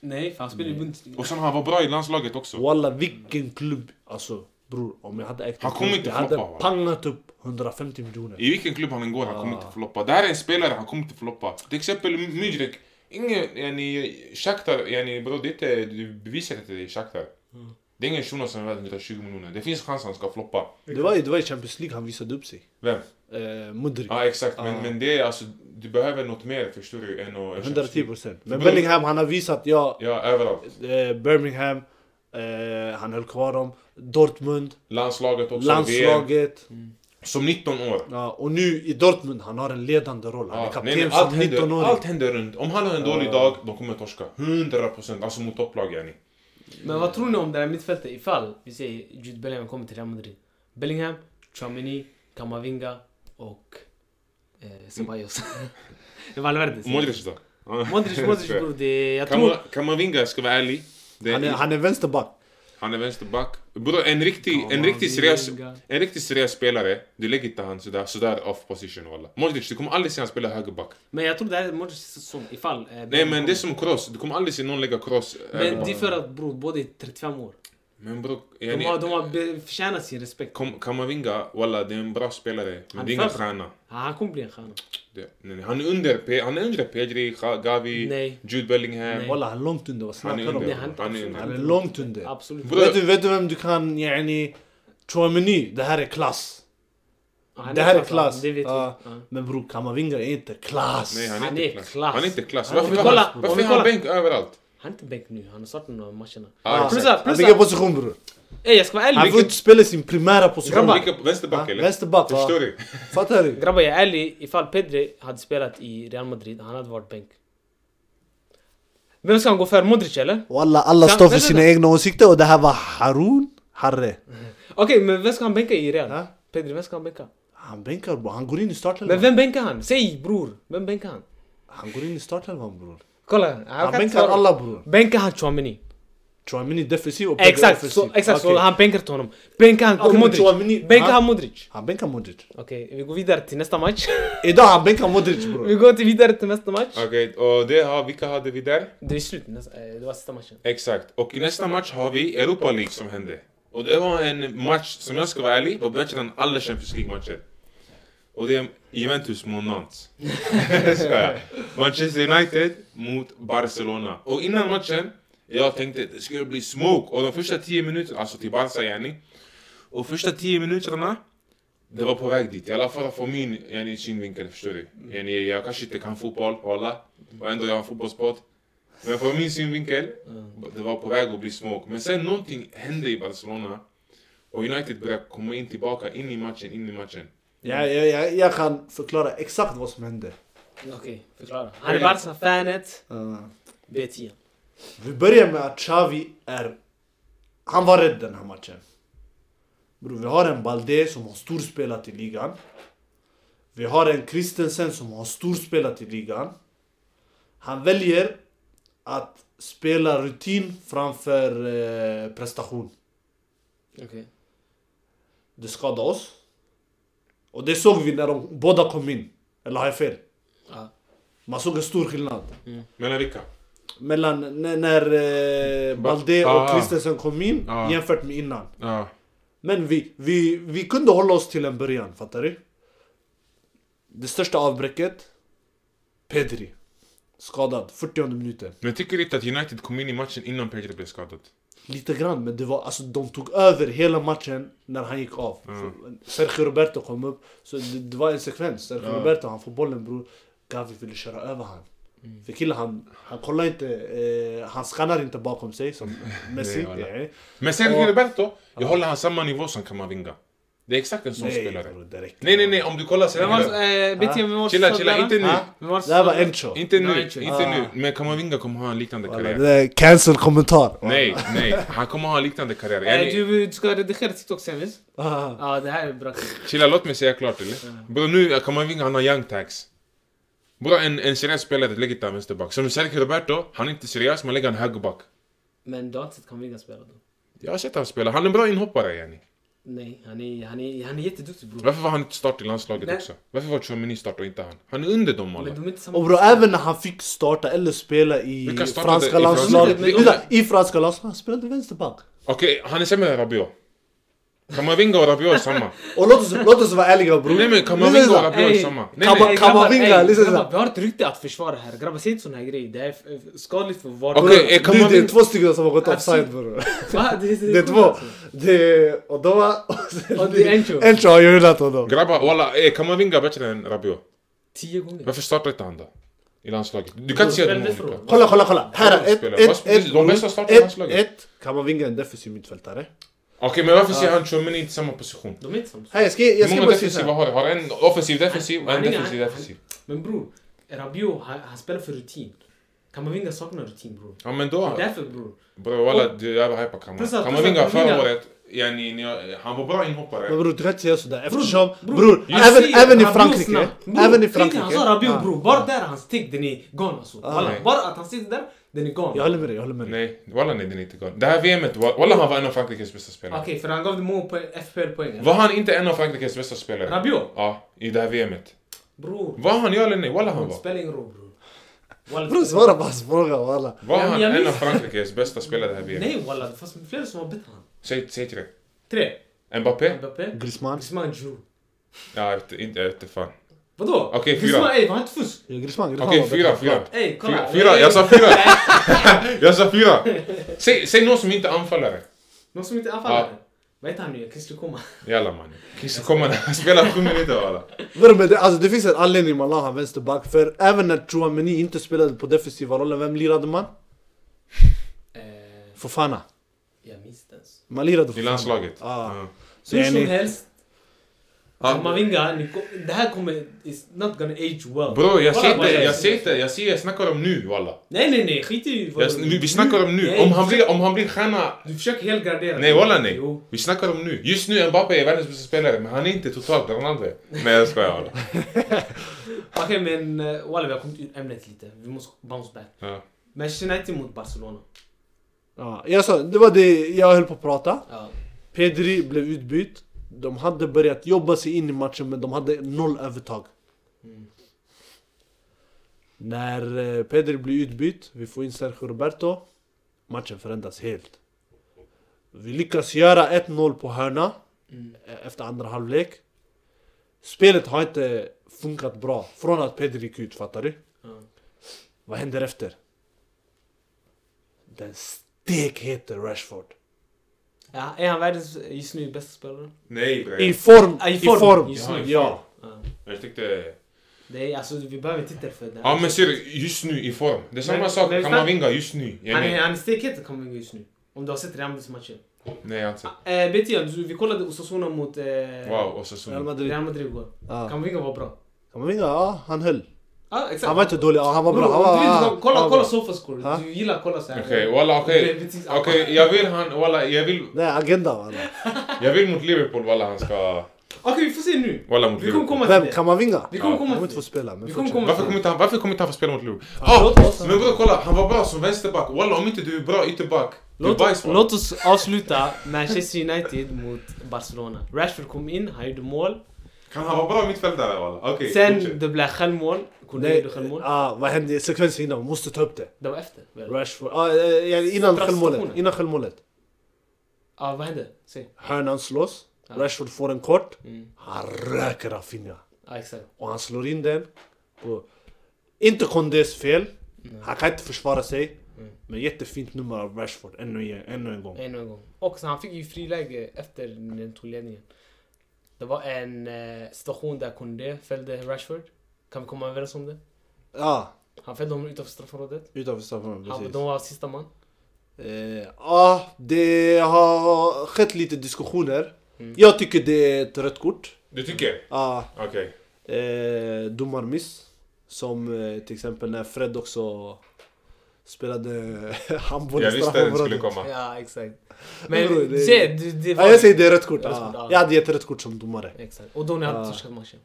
B: Nej, för han spelar i Bundesliga.
A: Och sen han var bra i landslaget också.
C: Walla vilken klubb. Alltså bror, om jag hade ägt
A: Han
C: en
A: kommer
C: klubb,
A: inte
C: jag hade
A: floppa, va?
C: pangat upp 150 miljoner.
A: I vilken klubb han än går, han kommer
C: Ah.
A: inte floppa. Det här är en spelare, han kommer inte floppa. Till exempel Mudrik. Ingen, yani, Shakhtar, yani bror det är inte, du bevisar inte det i Shakhtar.
C: Mm.
A: Det är ingen shuno som är värd 120 miljoner. Det finns chans han ska floppa.
C: Det var, ju- det var i Champions League han visade upp sig.
A: Vem?
C: Eh, Mudrik.
A: Ja ah, exakt, men,
C: Ah.
A: men det är alltså, du behöver något mer förstår du än att...
C: 110 procent. Men
A: Bror-
C: Bellingham han har visat, ja,
A: Ja, överallt.
C: eh, Birmingham, eh, han höll kvar dem. Dortmund,
A: Landslaget också, VM.
C: landslaget.
A: Som 19 år.
C: Ja, och nu i Dortmund, han har en ledande roll. Han är
A: Ja,
C: kapten
A: nej, nej, allt,
C: som
A: händer, allt
C: 19-åring.
A: händer runt. Om han har en dålig dag, de kommer torska. 100% alltså mot topplag yani.
B: Men vad tror ni om det här mittfältet ifall vi säger Jude Bellingham kommer till Real Madrid? Bellingham, Chamini, Kamavinga och eh, Ceballos. det var Alvarez.
A: Modric då? Ja.
B: Modric, Modric bror. Det, jag tror...
A: Kama- Kamavinga, ska vara ärlig. Det är,
C: Han är,
A: han
C: han är vänsterback.
A: Han är vänsterback. Bror, en riktig, en riktig seriös... En riktigt seriös spelare, du lägger inte han sådär, sådär off position walla. Modric, du kommer aldrig se han spela högerback.
B: Men jag tror det här är Modric säsong ifall... eh,
A: Nej
B: Bellingham
A: men det
B: kommer.
A: är som cross, du kommer aldrig se någon lägga cross
B: Men det är
A: högerback.
B: för att bror, båda är 35 år.
A: Men bror,
B: De har, de
A: yani,
B: har be- förtjänat sin respekt.
A: Kam- Kamavinga, walla det är en bra spelare. Men
B: Han
A: det är ingen
B: för-
A: stjärna.
B: Ja, Han kommer bli en stjärna.
A: Det- nej, nej, Han är under Pe- han är under Pedri, Ga- Gavi,
B: Nej.
A: Jude Bellingham.
B: Nej.
C: Walla, han är långt under. Vad
A: Han är
C: snackar
A: under.
C: du om?
B: han-
A: Han är
C: Han
A: under.
C: är långt under.
B: Absolut.
A: Bror,
C: Vet du, vet du vem du kan, yani... Chouameni, det här är klass.
B: Han
C: Det här är
B: klass,
C: klass.
B: Det vet vi.
C: Ja.
B: Ja.
C: Men bror, Kamavinga är inte klass.
A: Nej han är
B: Han
A: inte
B: är
A: klass.
B: klass.
A: Han är inte klass.
B: Han är
A: Varför
B: inte
A: har
B: klass.
A: han-
B: Om
A: varför
B: vi
A: har han
B: kollar-
A: bänk överallt?
B: Han är inte bänk nu, han har startat några matcherna.
A: Ja,
B: Plus
A: exakt.
B: att,
C: Han
B: plus
C: vilken
B: att,
C: position bror?
B: ey jag ska vara ärlig.
C: Han får inte spela sin primära position.
B: Grabbar.
A: Vilka-
C: Va?
A: Vänsterback eller?
C: Vänsterback va?
A: Förstår du?
C: Fattar du?
B: Grabbar jag är ärlig, ifall Pedri hade spelat i Real Madrid, han hade varit bänk. Vem ska han gå för? Modric eller?
C: Walla, alla
B: Kan-
C: står för
B: vänta,
C: sina
B: vänta.
C: egna åsikter och det här var Harun Harre.
B: Okej, men vem ska han bänka i Real?
C: Ja?
B: Pedri, vem ska han bänka?
C: Han bänkar bror, han går in i
B: Men
C: startelvan.
B: vem bänkar han? Säg bror, vem bänkar han?
C: Han går in i startelvan bror.
B: Kolla, han,
C: Han
B: kan inte
C: bänkar
B: svara.
C: alla bror.
B: Bänkar han Chouameni?
C: Chouamini defensiv och Pedro
B: Exakt,
C: offensiv.
B: så, exakt så
C: Okej.
B: han bänkar till honom. Bänkar han
C: Okej, men Tchouameni-
B: Modric? Bänkar
C: Ja.
B: han Modric?
C: Han bänkar Modric.
B: Okej, vi går vidare till nästa match.
C: Idag han bänkar Modric
B: vi
C: bror.
B: går till vidare till nästa match.
A: Okej, och det har, vilka hade vi där?
B: Det är slut, nästa, eh, det var sista matchen.
A: Exakt. Och i nästa match har vi Europa League som hände. Och det var en match, som jag ska vara ärlig, var bättre än alla Champions League-matcher. Och det är Juventus mot Nantes. Skojar. jag. Manchester United mot Barcelona. Och innan matchen, jag tänkte det skulle bli smoke. Och de första 10 minuterna, alltså till Barca yani. Och första 10 minuterna, det var på väg dit. I alla fall från min yani, synvinkel, förstår du. Yani, jag kanske inte kan fotboll, alla. Och ändå jag har en fotbollspodd. Men från min synvinkel, det var på väg att bli smoke. Men sen någonting hände i Barcelona. Och United började komma in tillbaka, in i matchen, in i matchen.
C: Ja, jag, jag, jag kan förklara exakt vad som hände.
B: Okej, förklara. Han är Barca-fanet.
C: Uh,
B: B10.
C: vi börjar med att Xavi är... Han var rädd den här matchen. Bror, vi har en Balde som har storspelat i ligan. Vi har en Christensen som har storspelat i ligan. Han väljer att spela rutin framför eh, prestation.
B: Okej.
C: Det skadade oss. Och det såg vi när de båda kom in. Eller har jag fel?
B: Ja.
C: Man såg en stor skillnad.
A: Mellan vilka?
C: Mellan när, när eh, Balde
A: Ba-
C: och
A: ah.
C: Christensen kom in
A: Ah.
C: jämfört med innan.
A: Ja.
C: Men vi, vi, vi kunde hålla oss till en början, fattar du? Det största avbräcket, Pedri. Skadad, 40 minuten.
A: Men jag tycker inte att United kom in i matchen innan Pedri blev skadad.
C: Lite grann, men det var, alltså, de tog över hela matchen när han gick av.
A: Mm.
C: Sergio Roberto kom upp, så det, det var en sekvens. Sergio Roberto, han får bollen bror. Gavi ville köra över han. För killen, han, han kollar inte, eh, han skannar inte bakom sig som Messi. Eh,
A: Nej, walla.
C: Nej,
A: Men Sergio
C: Och-
A: Roberto, jag håller han samma nivå som Kamavinga. Det är exakt en sån
C: nej,
A: spelare.
C: bror, det räcker.
A: Nej, nej, nej, om du kollar Sergio
B: Vem var
A: Roberto.
B: eh, B10? Vem var
A: Chilla, chilla, inte nu.
C: Ha?
B: Vem var
C: Det här var Encho.
A: Inte
B: Nej,
A: nu,
B: inte.
A: inte nu. Men Kamavinga kommer ha en liknande
C: Ah. Walla, Det
A: karriär.
C: där är cancel-kommentar.
A: Nej, nej. Han kommer ha en liknande karriär.
B: Eh,
A: Yani-
B: du, du ska redigera TikTok sen visst?
C: Ah.
B: Ja, det här är bra.
A: Chilla, låt mig säga klart eller? Bror nu, Kamavinga han har young tags. Bror en, en seriös spelare lägger inte en vänsterback. Som Sergio Roberto, han är inte seriös men lägger en högerback.
B: Men du har inte sett Kamavinga spela då?
A: Jag har sett han spela, han är en bra inhoppare yani.
B: Nej, han är, han är, han är jätteduktig bror.
A: Varför var han inte start i landslaget
B: Nej.
A: också? Varför var Chouamini start och inte han? Han är under dem alla.
B: Men de är inte
C: Och
B: samma.
C: bro, även när han fick starta eller spela i
A: Vilka startade
C: franska
A: i
C: landslaget.
A: Frankrike?
C: Vänta, I franska landslaget, han spelade vänsterback.
A: Okej, han är sämre än Rabiot. Kamavinga och Rabiot är samma.
C: Och låt oss, låt oss vara ärliga bror.
A: Nej men
C: Lyssna,
A: Kamavinga och Rabiot är
B: Ey,
A: samma. Nej,
C: Kama-
A: nej.
B: Ey,
C: Kamavinga,
B: grabbar, ey,
C: lyssna,
B: grabbar,
C: lyssna.
B: vi har ett rykte att försvara här. Grabbar, säg inte sån här grej. Det är eh, skadligt för var.
A: Okej,
C: Det-
A: eh, Kamavinga-
C: Det är två stycken som har gått offside
B: Absolut.
C: bror.
B: Va? Det,
C: Det är två. Det är Odoa och sen-
B: Och det är Encho.
C: Encho har ju hyllat honom.
A: Grabbar walla, eh, Kamavinga är bättre än Rabiot.
B: Tio gånger.
A: Varför startar inte han då? I landslaget? Du kan inte säga att de är
B: Väldigt
A: olika.
B: bra.
C: Kolla, kolla, kolla. Här är ett,
A: Spelare.
C: ett,
A: Vad-
C: ett.
A: de bästa startar i
C: ett,
A: landslaget.
C: ett. Kamavinga är en defensiv mittfältare.
A: Okej men varför ser han Chouamini inte i samma position?
B: De är inte samma.
C: Här, jag ska, jag
A: Hur
C: ska
A: många
C: bara säga så
A: defensiva
C: här.
A: har du? Har du en offensiv defensiv och en
B: Han är-
A: defensiv
B: han-
A: defensiv?
B: Men bror, Rabiot han, han spelar för rutin. Kamavinga saknar rutin bror.
A: Ja men då...
B: Därför bror.
A: Bror walla, du är överhypad Kamara.
B: Plus att-
A: Kamavinga
B: plus att
A: förra
B: Kamavinga-
A: året, يعني ni- han var bra inhoppare.
C: Men bror du kan inte säga sådär
B: Bror,
C: eftersom
B: bror,
C: bror,
B: jag
C: även,
B: säger
C: även i
B: Rabiot
C: Frankrike,
B: snabbt. Bror,
C: även i
B: tänk dig,
C: Frankrike. آه.
B: Han sa Rabiot
C: Ah.
B: bror, bara där hans stick den är gone alltså. Walla,
A: nej.
B: Bara att han sitter där, den är
C: Jag
B: gone.
C: håller med dig, jag håller med dig.
A: Nej, walla nej den är inte gone. Det här VMet, wa- walla han var en av Frankrikes bästa spelare.
B: Okej, för han gav dig många poäng- FPL-poäng.
A: Var han inte en av Frankrikes bästa spelare?
B: Rabiot?
A: Ja, i det här VMet.
B: Bror,
A: Var han ja eller nej? Walla han
B: det
A: var.
B: spelar ingen roll bror. Walla,
C: Bror svara på hans fråga walla.
A: Var
B: Ja, men
A: han
B: jag
A: en av
B: minns-
A: Frankrikes bästa spelare i det här VMet?
B: Nej walla, det fanns flera som var bättre än han.
A: Säg, säg tre.
B: Tre.
A: Mbappé?
B: Mbappé,
C: Griezmann.
B: Griezmann, Giroud.
A: Ja, jag vet inte, jag vet inte fan.
B: Vadå?
A: Okej, fyra.
B: Griezmann, ey var han inte fusk?
C: Ja, Griezmann, Griezmann
A: Okej,
C: var
A: fyra,
C: bättre.
A: fyra.
B: Ey kolla.
A: Fyra, fyra,
B: Ey,
A: jag sa fyra! jag sa fyra! Säg, säg någon som inte är anfallare.
B: Någon som inte
A: Ja.
B: anfaller? Vad heter han nu? Christer Koma.
A: Jalla mannen. Christer kommer han spelar sju minuter walla.
C: Vadå, men det, alltså, det finns en anledning man la han vänsterback. För även när Chouameni inte spelade på defensiva rollen, vem lirade man?
B: Eh,
C: Fofana.
B: jag minns inte ens.
C: Man lirade Fofana.
A: I landslaget.
C: Ah.
A: Ja.
B: Hur som
C: Yani-
B: helst,
A: Ja.
B: Kamavinga, ni kom- det här kommer... It's not gonna age well.
A: Bro, jag ser
B: Kolla,
A: inte,
B: kolla.
A: jag ser inte, jag ser, jag snackar om nu walla.
B: Nej nej nej, skit i vad
A: Jag,
B: du-
A: vi snackar om nu,
B: Nej,
A: om han blir, om han blir stjärna
B: Du försöker helgardera.
A: Nej walla nej.
B: Jo.
A: Vi snackar om nu. Just nu Mbappé är världens bästa spelare men han är inte totalt Ronaldo. Nej jag skojar walla.
B: Okej men eh, walla vi har kommit ur ämnet lite. Vi måste bounce back.
A: Ja.
B: Manchester United mot Barcelona.
C: Ja, ah. jag sa, det var det jag höll på att prata.
B: Ja.
C: Pedri blev utbytt. De hade börjat jobba sig in i matchen men de hade noll övertag. När eh, Pedri blir utbytt, vi får in Sergio Roberto. Matchen förändras helt. Vi lyckas göra 1-0 på hörna
B: Mm.
C: eh, efter andra halvlek. Spelet har inte funkat bra från att Pedri gick ut, fattar du?
B: Ja.
C: Vad händer efter? Den stekhete Rashford.
B: Ja, är han världens just nu bästa spelare?
A: Nej
C: I
A: bre.
C: form!
B: Ja, i
C: I
B: form.
C: form!
B: Just
A: nu.
C: Ja.
B: Ja.
A: Jag tyckte...
B: Det är, alltså, vi behöver inte titta för det.
A: Ja men ser du, just nu i form. Det är samma
B: Men-
A: sak
B: men vi snack-
A: Kamavinga just nu. Jag
B: Han
A: men-
B: är, han är stekhet Kamavinga just nu. Om du har sett Real Madrids matcher.
A: Nej jag har inte sett.
B: Eh, BTN, du- vi kollade Osasuna mot eh,
A: Wow, och
C: Real
A: Sassuolo.
C: Madrid.
B: Real Madrid igår.
C: Ja.
B: Kamavinga var bra.
C: Kamavinga, ja han höll.
B: Ja, exakt.
C: Han var inte dålig, ja, han var
B: Bror,
C: bra. Han
B: om
C: var,
B: du vill,
C: ja,
B: kolla- kolla,
C: han var
B: kolla
C: bra.
B: Sofascore.
C: Ja.
B: Du gillar att kolla såhär.
A: Okej walla okej.
B: Precis, ja.
A: Okej jag vill han walla jag vill,
C: Nej, agenda var det.
A: jag vill mot Liverpool walla han ska...
B: Okej, vi får se nu.
A: Walla mot
B: Vi kommer
A: Liverpool.
B: komma till
C: Vem?
B: det.
C: Kamavinga?
B: Vi kommer
A: Ja.
C: Han kommer
B: komma
C: inte
B: till
C: få
B: det.
C: spela, men
B: Vi kommer
C: fortsätt.
A: Varför
B: komma
A: kommer
B: till det.
A: inte han, varför kommer inte han få spela mot Liverpool?
B: låt
A: Ah,
B: oss-
A: men bror kolla, han var bra som vänsterback. Walla om inte du är bra ytterback, du är bajs walla.
B: låt oss avsluta Manchester United mot Barcelona. Rashford kom in, han gjorde mål.
A: Kan han vara bra mittfältare walla? Okej,
B: Sen
A: fortsätt.
B: det blev självmål. Cornelio
C: Nej,
B: gjorde självmål.
C: ah, vad hände i sekvensen innan? Vi måste ta upp det.
B: Det var efter. väl?
C: Rashford, ah, eh, yani innan
B: Straffstationen.
C: självmålet. Innan självmålet.
B: Ja, vad hände? Se.
C: Hörnan slås.
B: Ja.
C: Rashford får en kort.
B: Mm.
C: Han röker Rafinha.
B: Ja, exakt.
C: Och han slår in den. Och inte Kondes fel. Han kan inte försvara sig.
B: Mm.
C: Men jättefint nummer av Rashford ännu, en- ännu en gång.
B: Ännu en gång. Och så Oh, han fick ju friläge efter den tog ledningen. Det var en eh, situation där Koundé fällde Rashford. Kan vi komma överens om det?
C: Ja,
B: Han fällde honom utanför straffområdet.
C: utanför straffområdet
B: Han,
C: precis.
B: de var sista man.
C: Eh, Ja, det har skett lite diskussioner.
A: Mm.
C: Jag tycker det är ett rött kort.
A: Du tycker?
C: Ja,
A: Okej.
C: eh, domarmiss. Som eh, till exempel när Fred också spelade handboll
A: Jag
C: i
A: visste att den skulle
C: straffområdet.
A: komma.
B: Ja, exakt.
C: Bro,
B: Men
C: det-
B: se, det, det var...
C: Ja, jag säger det är rött kort. alltså.
B: Det är rött kort,
C: Ja.
B: ja.
C: Jag hade gett rött kort som domare.
B: Exakt. Och då när han
C: Ja.
B: torskat matchen.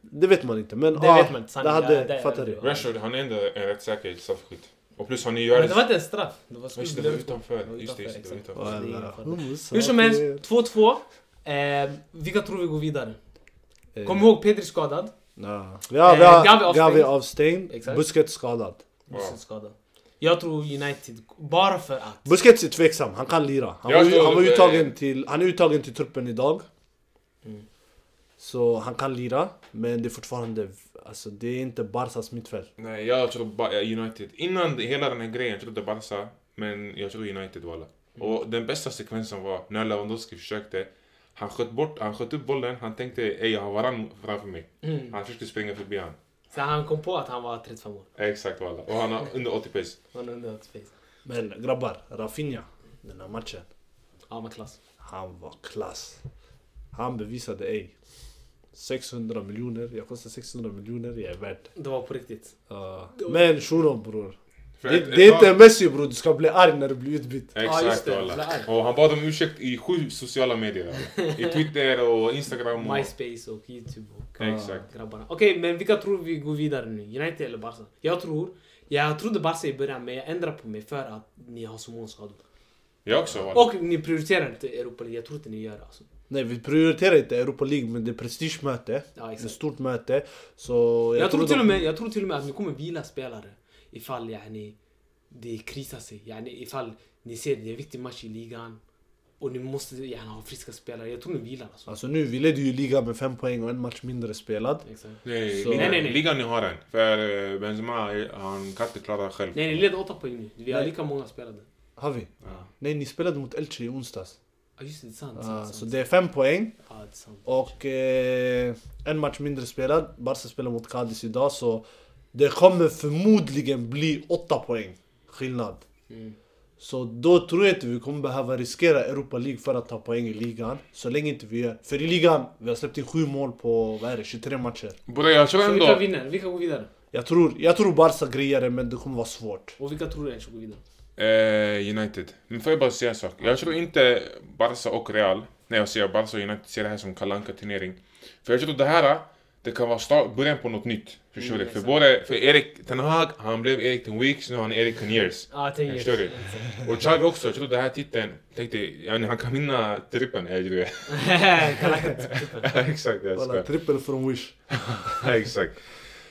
C: Det vet man inte, men
B: Det
C: ah,
B: vet man inte.
C: det
B: Sanningen,
C: hade,
B: ja, det-
C: fattar du?
A: Rashford, han är ändå en rätt säker straffskytt. Och plus han är ju
B: Men
A: världens...
B: det var inte en straff. Det var
A: Just det, det var utanför. Just det, just det, det var
B: exakt.
A: utanför.
C: Wallah.
B: Det är fattar.
C: Hummus,
B: Hur som helst,
C: fattar
B: 2-2. Eh, vilka tror vi går vidare?
C: du?
B: Kom ihåg Pedri skadad.
C: Eh, Ja, vi har, vi
B: Eh, Gavi
C: har
B: avstängd.
C: Gavi avstängd.
B: Exakt.
C: Busquets skadad.
A: Wow.
B: Busquets skadad. Jag tror United, bara för att.
C: Busquets är tveksam, han kan lira. Han,
A: Jag
C: var, ju-
A: tror-
C: han, var
A: eh,
C: uttagen till, han är uttagen till truppen idag. Så han kan lira, men det är fortfarande... Alltså det är inte Barsas mittfält.
A: Nej, jag tror bara United. Innan hela den här grejen, jag trodde Barca, men jag tror United walla.
B: Mm.
A: Och den bästa sekvensen var när Lewandowski försökte. Han sköt bort, han sköt upp bollen, han tänkte ey jag har varann framför mig.
B: Mm.
A: Han försökte springa förbi han.
B: Så han kom på att han var 35 år.
A: Exakt walla. Och han har under 80 pace.
B: Han undrar att face.
C: Men grabbar, Rafinha, den här matchen.
B: Ja, men klass.
C: Han var klass. Han bevisade ej. 600 miljoner, jag kostar 600 miljoner, jag är värd det.
B: Det var på riktigt.
C: Ja. Men shunon bror.
A: För
C: Det,
A: ett-
C: det är
A: ett
C: inte
A: tag-
C: Messi bror, du ska bli arg när du blir utbytt.
B: Ja, just
A: Exakt
B: det.
A: walla.
B: Sådär.
A: Och han bad om ursäkt i sju sociala medier. walla. I Twitter och Instagram. Och...
B: MySpace och YouTube och ah,
A: Exakt.
B: grabbarna. Okej, men vilka tror vi går vidare nu? United eller Barca? Jag tror... Jag trodde Barca i början, men jag ändrar på mig för att ni har så många skador.
A: Jag också walla.
B: Och ni prioriterar inte Europa League. Jag tror inte ni gör det alltså.
C: Nej vi prioriterar inte Europa League men det är prestigemöte.
B: Ja, exakt.
C: Det är ett stort möte. Så
B: Jag, tror
C: de-
B: till och med, jag tror till och med att ni kommer vila spelare ifall yani, det krisar sig. Yani, ifall ni ser det är en viktig match i ligan och ni måste gärna ha friska spelare. Jag tror ni vilar alltså.
C: Alltså nu, vi ledde ju ligan med fem poäng och en match mindre spelad.
B: Exakt.
A: Nej,
C: Så-
A: ligan,
B: Nej, nej, nej.
A: ligan ni har den. För eh, Benzema, eh, han kan inte klara själv.
B: Nej, ni leder åtta poäng nu. Vi har
C: Nej.
B: lika många spelade.
C: Har vi?
A: Ja.
C: Nej ni spelade mot Elche i onsdags.
B: Ja, just det. Det är sant.
C: Ah,
B: sant,
C: så
B: sant.
C: det är fem poäng
B: Ja, det är sant.
C: och eh, en match mindre spelad. Barca spelar mot Cadiz idag så det kommer förmodligen bli åtta poäng skillnad.
B: Mm.
C: Så då tror jag inte vi kommer behöva riskera Europa League för att ta poäng i ligan. Så länge inte vi gör... För i ligan, vi har släppt in sju mål på, vad är det, 23 matcher.
A: Bror jag tror
B: Så vilka
A: ändå...
B: vinner? Vilka går vidare?
C: Jag tror, jag tror Barca grejer det men det kommer vara svårt.
B: Och vilka tror du ens går vidare?
A: Eh, United. Men får jag bara säga en sak? Jag tror inte Barca och Real, när jag säger Barca och United, ser det här som Kalle Anka turnering För jag tror det här, det kan vara start, början på något nytt. Förstår
B: Mm,
A: du? För
B: exakt.
A: både, för Erik Ten Hag, han blev Erik Ten Weeks, nu är han Erik Ten Years.
B: Ja, ah, tänk
A: Förstår du? Och Xavi också, jag tror den här titeln, tänkte, ja, han kan vinna trippen. eh, du vet. Exakt, jag
C: Voilà,
A: skojar.
C: trippel från Wish.
A: Exakt.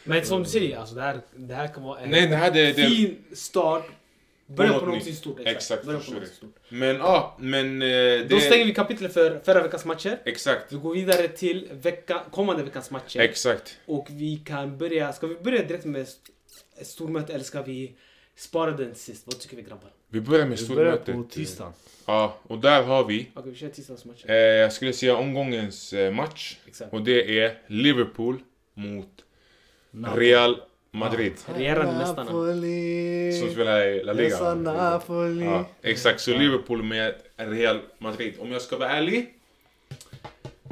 B: Men som du säger, alltså, det, här, det här kan vara en
A: Nej, det här det... det
B: fin start. Början på
A: något
B: någonting
A: nytt.
B: stort.
A: Exakt,
B: Början på
A: förstår
B: någonting
A: du.
B: stort.
A: men ja, ah, men... eh, det,
B: Då stänger vi kapitlet för förra veckans matcher.
A: Exakt,
B: Vi går vidare till vecka, kommande veckans matcher.
A: exakt.
B: och vi kan börja, ska vi börja direkt med st- stormöte eller ska vi spara den till sist? Vad tycker vi grabbar?
A: Vi börjar med
C: Vi börjar på
A: stormötet.
C: tisdagen.
A: Ja, och där har vi,
B: Okej, vi kör tisdagens matcher.
A: eh, jag skulle säga omgångens eh, match.
B: Exakt.
A: Och det är Liverpool mot
C: Napoli.
A: Real Madrid.
B: Regerande mästarna.
A: Som spelar i La Liga.
C: Esa Napoli.
A: Ja, exakt, så Liverpool med Real Madrid. Om jag ska vara ärlig,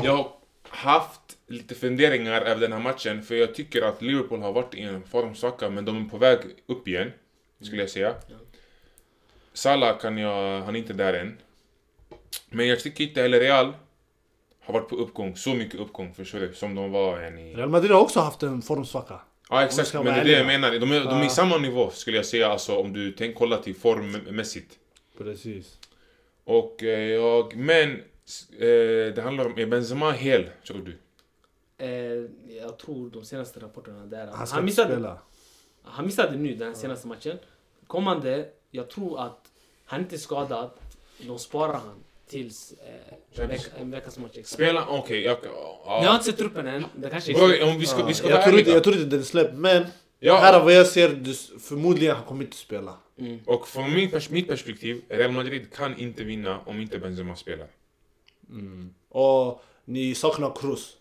A: jag har haft lite funderingar över den här matchen. För jag tycker att Liverpool har varit i en formsvacka, men de är på väg upp igen. Skulle jag säga.
C: Mm.
B: Ja.
A: Salah kan jag, han är inte där än. Men jag tycker inte heller Real har varit på uppgång, så mycket uppgång förstår du, som de var en i...
C: Real Madrid har också haft en formsvacka.
A: Ja
C: Om vi
A: exakt,
C: ska
A: men det
C: vara
A: är det jag
C: ärliga.
A: menar. De är, de är i
C: Ja.
A: samma nivå skulle jag säga, alltså om du tänk, kolla till formmässigt.
C: Precis.
A: Och eh, jag, men s- eh, det handlar om, är Benzema hel, tror du?
B: Eh, jag tror de senaste rapporterna där.
C: Han
B: Han,
C: ska inte
B: missade,
C: spela.
B: han missade nu den här senaste matchen. Kommande, jag tror att han inte är skadad. De sparar han tills eh, en, veck, en veckas match. Exakt.
A: Spela, okej, jag...
B: Jag har
A: Ja.
B: inte sett truppen än. Det kanske är...
A: Bror, om vi ska, vi ska
C: jag,
A: vara
C: tror inte,
A: ärliga.
C: jag tror inte den släpps men
A: Ja.
C: här av vad jag ser, du, s- förmodligen han kommer inte spela.
B: Mm.
A: Och från min pers mitt perspektiv, Real Madrid kan inte vinna om inte Benzema spelar.
C: Och ni saknar Kroos.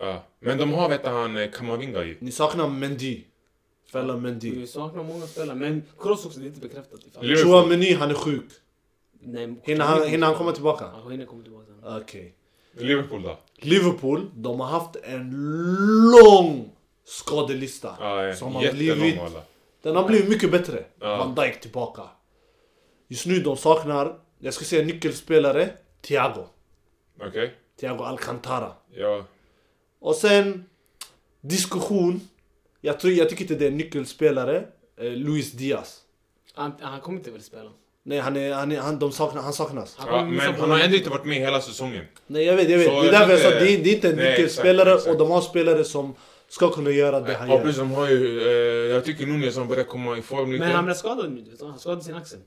A: Ja. Men de har, vet du, han eh, Kamavinga ju.
C: Ni saknar Mendy. Fälla Mendy.
B: Vi saknar många spelare, men Kroos också, det är inte bekräftat. ifall-
A: Liverpool.
C: Chouameni, han är sjuk.
B: Nej,
C: Hinner han, hinner han komma tillbaka?
B: Ja, hinner komma tillbaka.
C: Okej.
A: Liverpool då?
C: Liverpool, de har haft en lång skadelista.
A: Ja,
C: som
A: ja.
C: har
A: Jättelång
C: blivit...
A: walla.
C: Den har blivit mycket bättre.
A: Ja.
C: Van Dijk tillbaka. Just nu de saknar, jag ska säga nyckelspelare, Thiago.
A: Okej?
C: Thiago Alcantara.
A: Ja.
C: Och sen diskussion. Jag, tror, jag tycker inte det är en nyckelspelare. Eh, Luis Diaz.
B: Han, han kommer inte väl spela?
C: Nej, han, är, han, är, han, de saknar, han saknas.
B: Han
A: ja.
B: kommer missa
A: Men han
B: bollen.
A: har ändå inte varit med hela säsongen.
C: Nej, jag vet, jag vet.
A: Så
C: det
A: jag
C: är därför jag
A: tycker-
C: sa det, är- det är inte en
A: Nej,
C: nyckelspelare
A: exakt, exakt.
C: och de har spelare som ska kunna göra det han
A: Ja,
C: gör.
A: precis, de har ju... Eh, jag tycker Nunez han börjar komma i form lite.
B: Men han
A: Han,
B: blev skadad nu. vet du. Han skadade sin axel.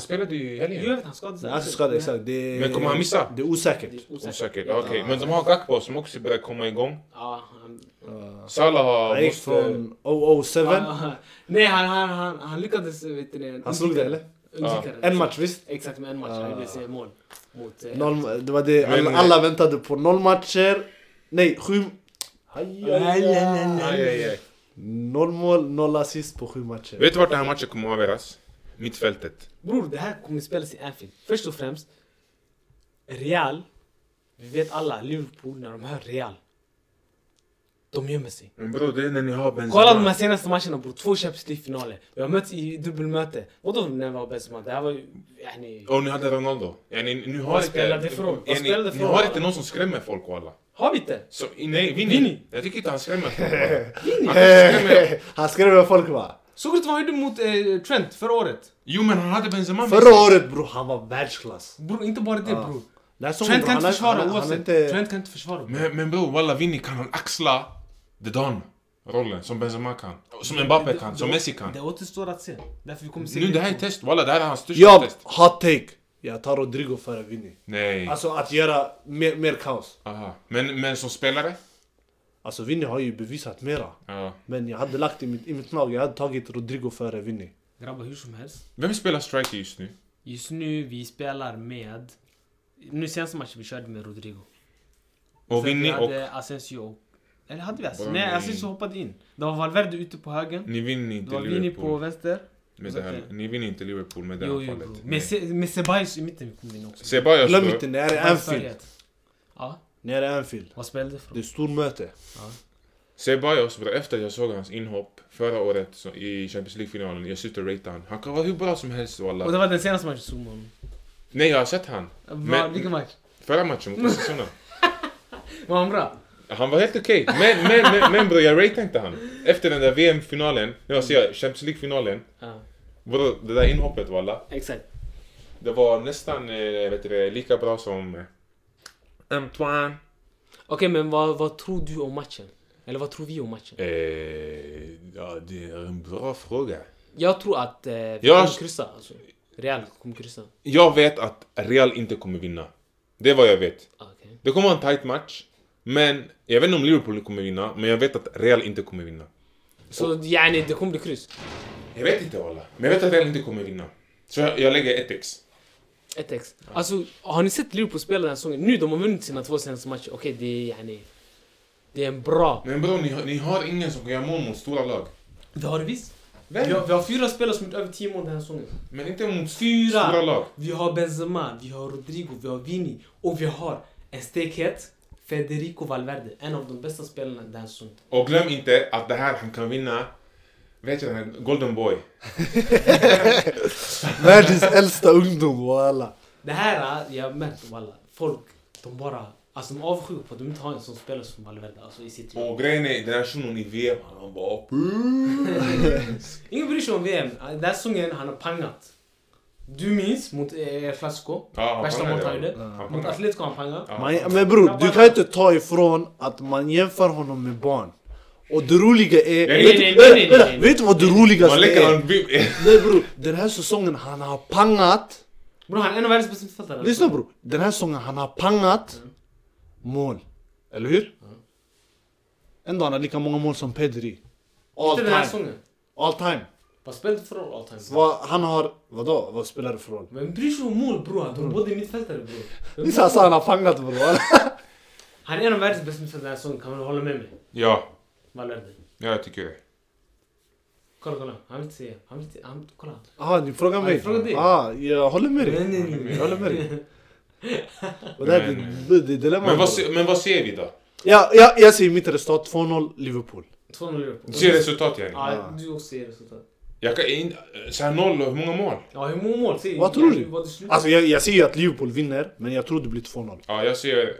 A: spelade ju i
B: Jo,
A: helgen.
B: jag vet han skadade sin
C: Nej, Alltså skada,
B: Men-
C: exakt. Det är,
A: Men kommer han missa?
C: Det är osäkert.
B: Det är
A: Osäkert, okej. Men de har Gakpo som också börjar komma igång.
B: Ja, han...
A: Salah har...
C: Han gick
A: Måste,
C: från 007.
B: Ah, nej, han, han, han, han lyckades... Vet du, det,
C: Han slog det eller?
B: undvika det.
C: En match visst? Ah.
B: Exakt, med en match. Han gjorde sitt mål. Mot... eh,
C: Noll, det var det
A: Men-
C: alla, alla väntade på. Noll matcher. Nej, sju... Aj, aj, aj.
A: aj, aj, aj.
C: Noll mål, noll assist på sju matcher.
A: Vet du vart den här matchen kommer avgöras? Mittfältet.
B: Bror, det här kommer spelas i Anfield. Först och främst, Real, vi vet alla, Liverpool, när de hör Real. De gömmer sig.
A: Men bror, det är när ni har Benzema.
B: Kolla de här senaste matcherna bror, två Champions League-finaler. Vi har mötts i dubbelmöte. Vadå när vi var bäst man? Det här var ju... Yani,
A: Och ni hade Ronaldo. Yani, nu eh, har
B: Vad
A: inte-
B: spelar det för roll? Vad
A: Yani,
B: spelar det för
A: Ni
B: roll?
A: har inte någon som skrämmer folk walla.
B: har vi inte?
A: Så, nej, Vinny.
B: Vinny.
A: Jag tycker inte han skrämmer folk. walla. Han kanske skrämmer...
C: Han skrämmer folk va?
B: Såg du inte vad han gjorde mot eh, Trent förra året?
A: Jo men han hade Benzema med
C: Förra
A: sig.
C: året bror, han var världsklass.
B: Bror, inte bara det
C: Ja.
B: bror.
C: Den här säsongen,
B: Trent
C: bror,
B: kan inte
C: han är-
B: försvara
C: han är- han är
B: oavsett.
C: inte-
B: Trent kan inte försvara. bror.
A: Men, men bror, walla Vinny kan han axla the Don rollen som Benzema kan. Som Mbappe kan, som Messi kan.
B: Det återstår att se. Därför vi kommer se
A: Nu det här är test, walla det här är hans största
C: Jag,
A: test.
C: hot take. Jag tar Rodrigo före Vinny.
A: Nej.
C: Alltså att göra mer, mer kaos.
A: Aha. Men, men som spelare?
C: Alltså Vinny har ju bevisat mera.
A: Ja.
C: Men jag hade lagt i mitt, i mitt lag, jag hade tagit Rodrigo före Vinny.
B: Grabbar, hur som helst.
A: Vem spelar striker just nu?
B: Just nu, vi spelar med... Nu senaste matchen vi körde med Rodrigo.
A: Och
B: Sen vi
A: Vinny och...
B: hade Asensio. Eller hade vi Asensio?
A: Burnley.
B: Nej, Asensio hoppade in. Det var Valverde ute på högern.
A: Ni vinner
B: Det
A: inte
B: var Vini på
A: Liverpool
B: vänster.
A: med det här. Ni vinner inte Liverpool med det här
B: Jo, jo, bro.
A: fallet.
B: Med,
A: Nej.
B: Se, med Sebajos i mitten vi kom in också.
A: Ceballos
C: Glöm
A: då?
C: inte, när det är
B: Ceballos
C: Anfield.
B: förrätt. Ja,
C: När det är Anfield.
B: vad spelade det för
C: Det är stormöte.
A: Ceballos, bro, efter jag såg hans inhopp förra året så, i Champions League-finalen, jag sitter och ratear han. Han kan vara hur bra som helst
B: Och det
A: walla.
B: var den senaste matchen som honom.
A: Nej, jag har sett han.
B: Men...
A: Men-
B: Vilken match?
A: Förra matchen mot Osasuna.
B: Var han bra?
A: Han var helt okej, men, men, men, men bro, jag ratear inte han. Efter den där VM-finalen, nu ser jag Champions League-finalen,
B: Ja,
A: bro, det där inhoppet walla.
B: exakt.
A: Det var nästan eh, vet du, det, lika bra som... eh, Antoine.
B: Okej, men vad, vad tror du om matchen? Eller vad tror vi om matchen?
A: Eh, ja, det är en bra fråga.
B: Jag tror att eh, vi
A: Jag-
B: kommer kryssa. Alltså. Real kommer kryssa.
A: Jag vet att Real inte kommer vinna. Det är vad jag vet.
B: Ah, Okej.
A: Det kommer vara en tight match. Men jag vet inte om Liverpool kommer vinna, men jag vet att Real inte kommer vinna.
B: Så yani, det kommer bli kryss.
A: Jag vet inte alla. Men jag vet att Real inte kommer vinna. Så jag, jag lägger ett ex.
B: Ett ex. Alltså, har ni sett Liverpool spela den här säsongen? Nu, de har vunnit sina två senaste matcher. Okej, det är yani... Det är en bra...
A: Men bror, ni, har- ni har ingen som kan göra mål mot stora lag.
B: Det har det visst.
A: Vem?
B: Vi har, vi har fyra spelare som gjort över 10 mål den här säsongen.
A: Men inte mot
B: Fyra!
A: stora lag.
B: Vi har Benzema, vi har Rodrigo, vi har Vini och vi har en stekhet Federico Valverde, en av de bästa spelarna den här säsongen.
A: Och glöm inte att det här, han kan vinna... Vet du den här Golden Boy?
C: Världens äldsta ungdom walla.
B: Det här, jag har märkt walla, folk de bara, alltså de är avskyr på att de inte har en sån spelare som Valverde alltså, i sitt lag.
A: Och grejen är, den här shunon i VM, han var...
B: Ingen bryr sig om VM, den här säsongen han har pangat. Du minns mot eh, Flasco,
A: Ja, han
B: värsta
A: pangade,
B: målet han
A: ja.
B: gjorde.
A: Ja, han
B: Mot
A: pangade.
B: Atletico han pangade.
A: Ja.
C: Man, men bror, du kan inte ta ifrån att man jämför honom med barn. Och det roliga är...
A: Nej,
C: vet,
B: nej, nej, nej, nej, nej.
C: vet du vad det
A: Man
C: roligaste
A: lägger
C: är?
A: han... bib-
C: Nej bror, den här säsongen han har pangat.
B: Bror han är en av världens bästa mittfältare.
C: Lyssna bror, den här säsongen han har pangat mål. Eller hur? En dag han har lika många mål som Pedri. All
B: Inte den här
C: time.
B: säsongen.
C: All time.
B: Vad spelar det för roll all time?
C: Vad, han har, vadå, vad spelar det för roll?
B: Vem bryr sig om mål bror? De är båda mittfältare bror. Vem
C: Visst han sa han har pangat bror.
B: Han är en av världens bästa mittfältare den här säsongen, kan man hålla med mig?
A: Ja,
B: Valverde.
A: ja, jag tycker det.
B: Kolla, kolla. Han vill inte säga. Han vill inte... Han, kolla.
C: Ah, ni frågar
B: Ja,
C: mig?
B: jag frågar dig.
C: ah, jag håller med dig.
B: Nej, nej, nej.
C: Jag håller med dig. Och det här
A: Men-
C: är ditt dilemma.
A: Men vad, se- men vad ser vi då?
C: Ja, ja, jag säger mitt resultat 2-0 Liverpool.
B: 2-0 Liverpool.
A: Du ser resultat yani?
B: Ja, du också ser resultat.
A: Jag kan in, så här noll och hur många mål?
B: Ja, hur många mål? Säg,
C: Vad tror du?
B: Vad det slutar.
C: Alltså jag, jag säger ju att Liverpool vinner, men jag tror det blir 2-0.
A: Ja, jag ser...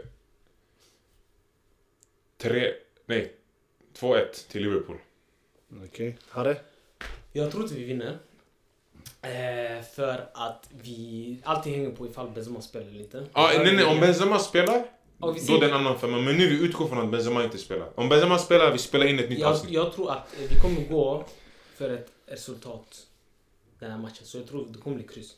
A: Tre... Nej. 2-1 till Liverpool.
C: Okej, Harry?
B: Jag tror inte vi vinner. Eh, för att vi... Allting hänger på ifall Benzema spelar eller inte.
A: Ja, nej, nej, om Benzema spelar,
B: Ja, vi
A: då
B: ser-
A: är det en annan femma. Men nu vi utgår från att Benzema inte spelar. Om Benzema spelar, vi spelar in ett nytt
B: jag,
A: avsnitt.
B: jag tror att eh, vi kommer gå för ett resultat den här matchen. Så jag tror det kommer bli kryss.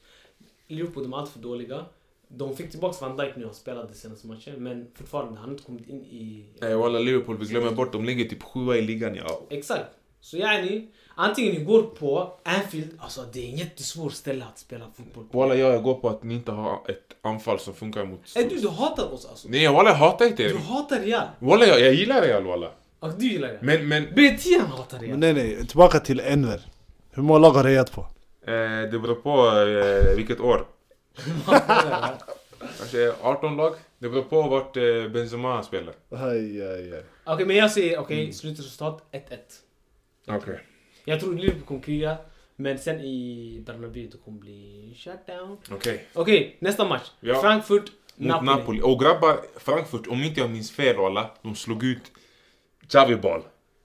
B: Liverpool, de är alltför dåliga. De fick tillbaka Van Dijk nu, han spelade senaste matchen. Men fortfarande, han har inte kommit in i...
A: Nej walla, Liverpool, vi glömmer bort, de ligger typ sjua i ligan. Ja.
B: Exakt. Så yani, antingen ni går på Anfield, alltså det är en jättesvår ställe att spela fotboll på.
A: Walla, jag går på att ni inte har ett anfall som funkar mot...
B: Äh, du, du hatar oss alltså.
A: Nej walla, jag hatar inte
B: Du
A: er.
B: hatar Real.
A: Walla, jag, jag gillar Real walla.
B: Och du gillar det.
A: Men, men...
B: B10 hatar
C: Men
B: Real.
C: nej nej, tillbaka till Enver. Hur många lag har rejat på?
A: Eh, det beror på eh, vilket år. kanske 18 lag. Det beror på vart eh, Benzema spelar.
C: Aj, aj, aj.
B: Okej, men jag säger okej, slutresultat 1-1.
A: Okej.
B: Jag tror Liverpool kommer kriga, men sen i Bernabéu det kommer bli shutdown.
A: Okej.
B: Okej, nästa match.
A: Ja.
B: Frankfurt,
A: Mot
B: Napoli.
A: Napoli. Och grabbar, Frankfurt, om inte jag minns fel alla, de slog ut Xavi Ball.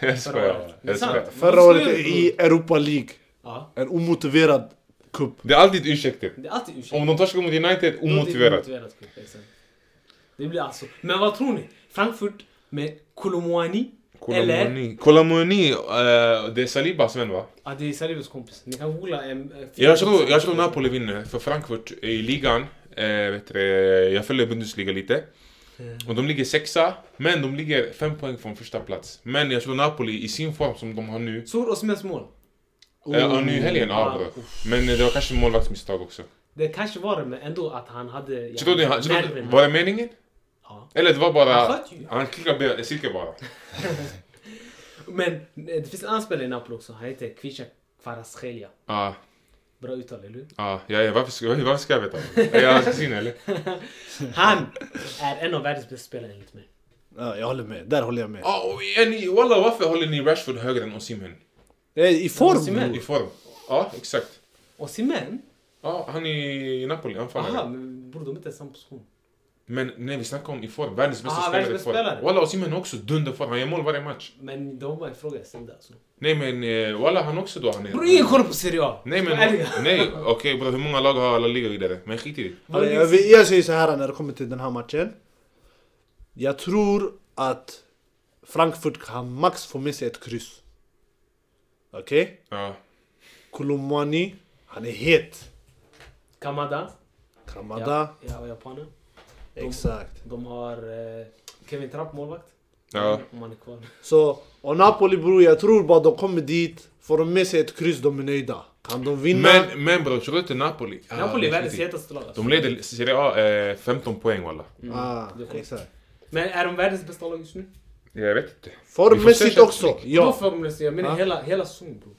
A: jag
B: Förra
A: skojar.
B: året. Det är
A: Jag skojar.
B: sant.
C: Förra året i Europa League.
B: Ja.
C: En omotiverad cup.
A: Det är alltid ursäkter.
B: Det är alltid ursäkt.
A: Om de torskar mot United,
B: Någonting
A: omotiverat.
B: omotiverat, typ, exakt. Det blir alltså. Men vad tror ni? Frankfurt med Kolomouani? Eller?
A: Kolomoni. Kolomoni, eh, det är Salibas vän va?
B: Ja, det är Saribos kompis. Ni kan googla. eh, en- en-
A: Jag tror, jag tror Napoli vinner, för Frankfurt i ligan, eh, vet du, eh, jag följer Bundesliga lite.
B: Eh.
A: Och de ligger sexa, men de ligger fem poäng från första plats. Men jag tror Napoli i sin form som de har nu,
B: Sor Osmans mål.
A: eh, ja nu i helgen, ja
B: Ah.
A: bra. Men eh, det var kanske målvaktsmisstag också.
B: Det kanske var det, men ändå att han hade... ja,
A: Så då, det- så då,
B: nerven.
A: var det meningen?
B: Ja.
A: Eller det var bara...
B: Han sköt ju.
A: Han klickade cirkel bara.
B: Men eh, det finns en annan spelare i Napoli också. Han heter Kvichak Kvaratskhelia.
A: Ja,
B: Bra uttal, eller hur?
A: ja, Ah, ja, ja, varför ska, varför ska jag veta? Är jag kusin eller?
B: Han är en av världens bästa spelare enligt mig.
C: Ja, jag håller med. Där håller jag med.
A: Ja, Ah, och är ni- Walla, varför håller ni Rashford högre än Osimhen?
C: Jag är I form
B: Osimhen.
A: I
C: bror.
A: form? Ja, exakt.
B: Osimhen?
A: Ja, han är i Napoli,
B: Aha,
A: anfallare.
B: men borde de inte i samma position?
A: Men nej, vi snackar om i form. Världens bästa
B: Ah,
A: spelare i
B: världens bästa
A: form.
B: spelare.
A: Walla, Osimhen är också dunderform. Han gör mål varje match.
B: Men de var ifrågasatta alltså.
A: Nej men, eh, walla han också då. Han
B: Bror,
A: är...
B: ingen koll på Serie A!
A: Nej men,
B: Ska vara ärliga.
A: nej okej bror, hur många lag har alla ligor vidare? Men skit i det.
B: Vad är
C: Jag,
B: det-
C: vill- jag säger så här när det kommer till den här matchen. Jag tror att Frankfurt kan max få med sig ett kryss. Okej?
A: Ja.
C: Kolomani, han är het.
B: Kamada.
C: Kamada,
B: Ja, ja, japaner.
C: exakt.
B: De har eh, Kevin Trapp, målvakt.
A: Ja.
B: Om han är kvar.
C: Så, och Napoli bror, jag tror bara de kommer dit, får de med sig ett kryss, de är nöjda. Kan de vinna?
A: Men, men bror, tror du inte Napoli? Ja,
B: Napoli är
A: det är
B: världens
A: skit i.
B: hetaste lag. Alltså.
A: De leder Serie A eh, 15 poäng walla.
C: ah,
B: det är sjukt.
C: exakt.
B: Men är de världens bästa lag just nu?
A: Jag vet inte. Vi får
C: Formmässigt
A: se
C: också,
A: Champions
B: Då
C: ja.
B: formlöst, jag menar
C: Ja.
B: hela, hela säsongen bror.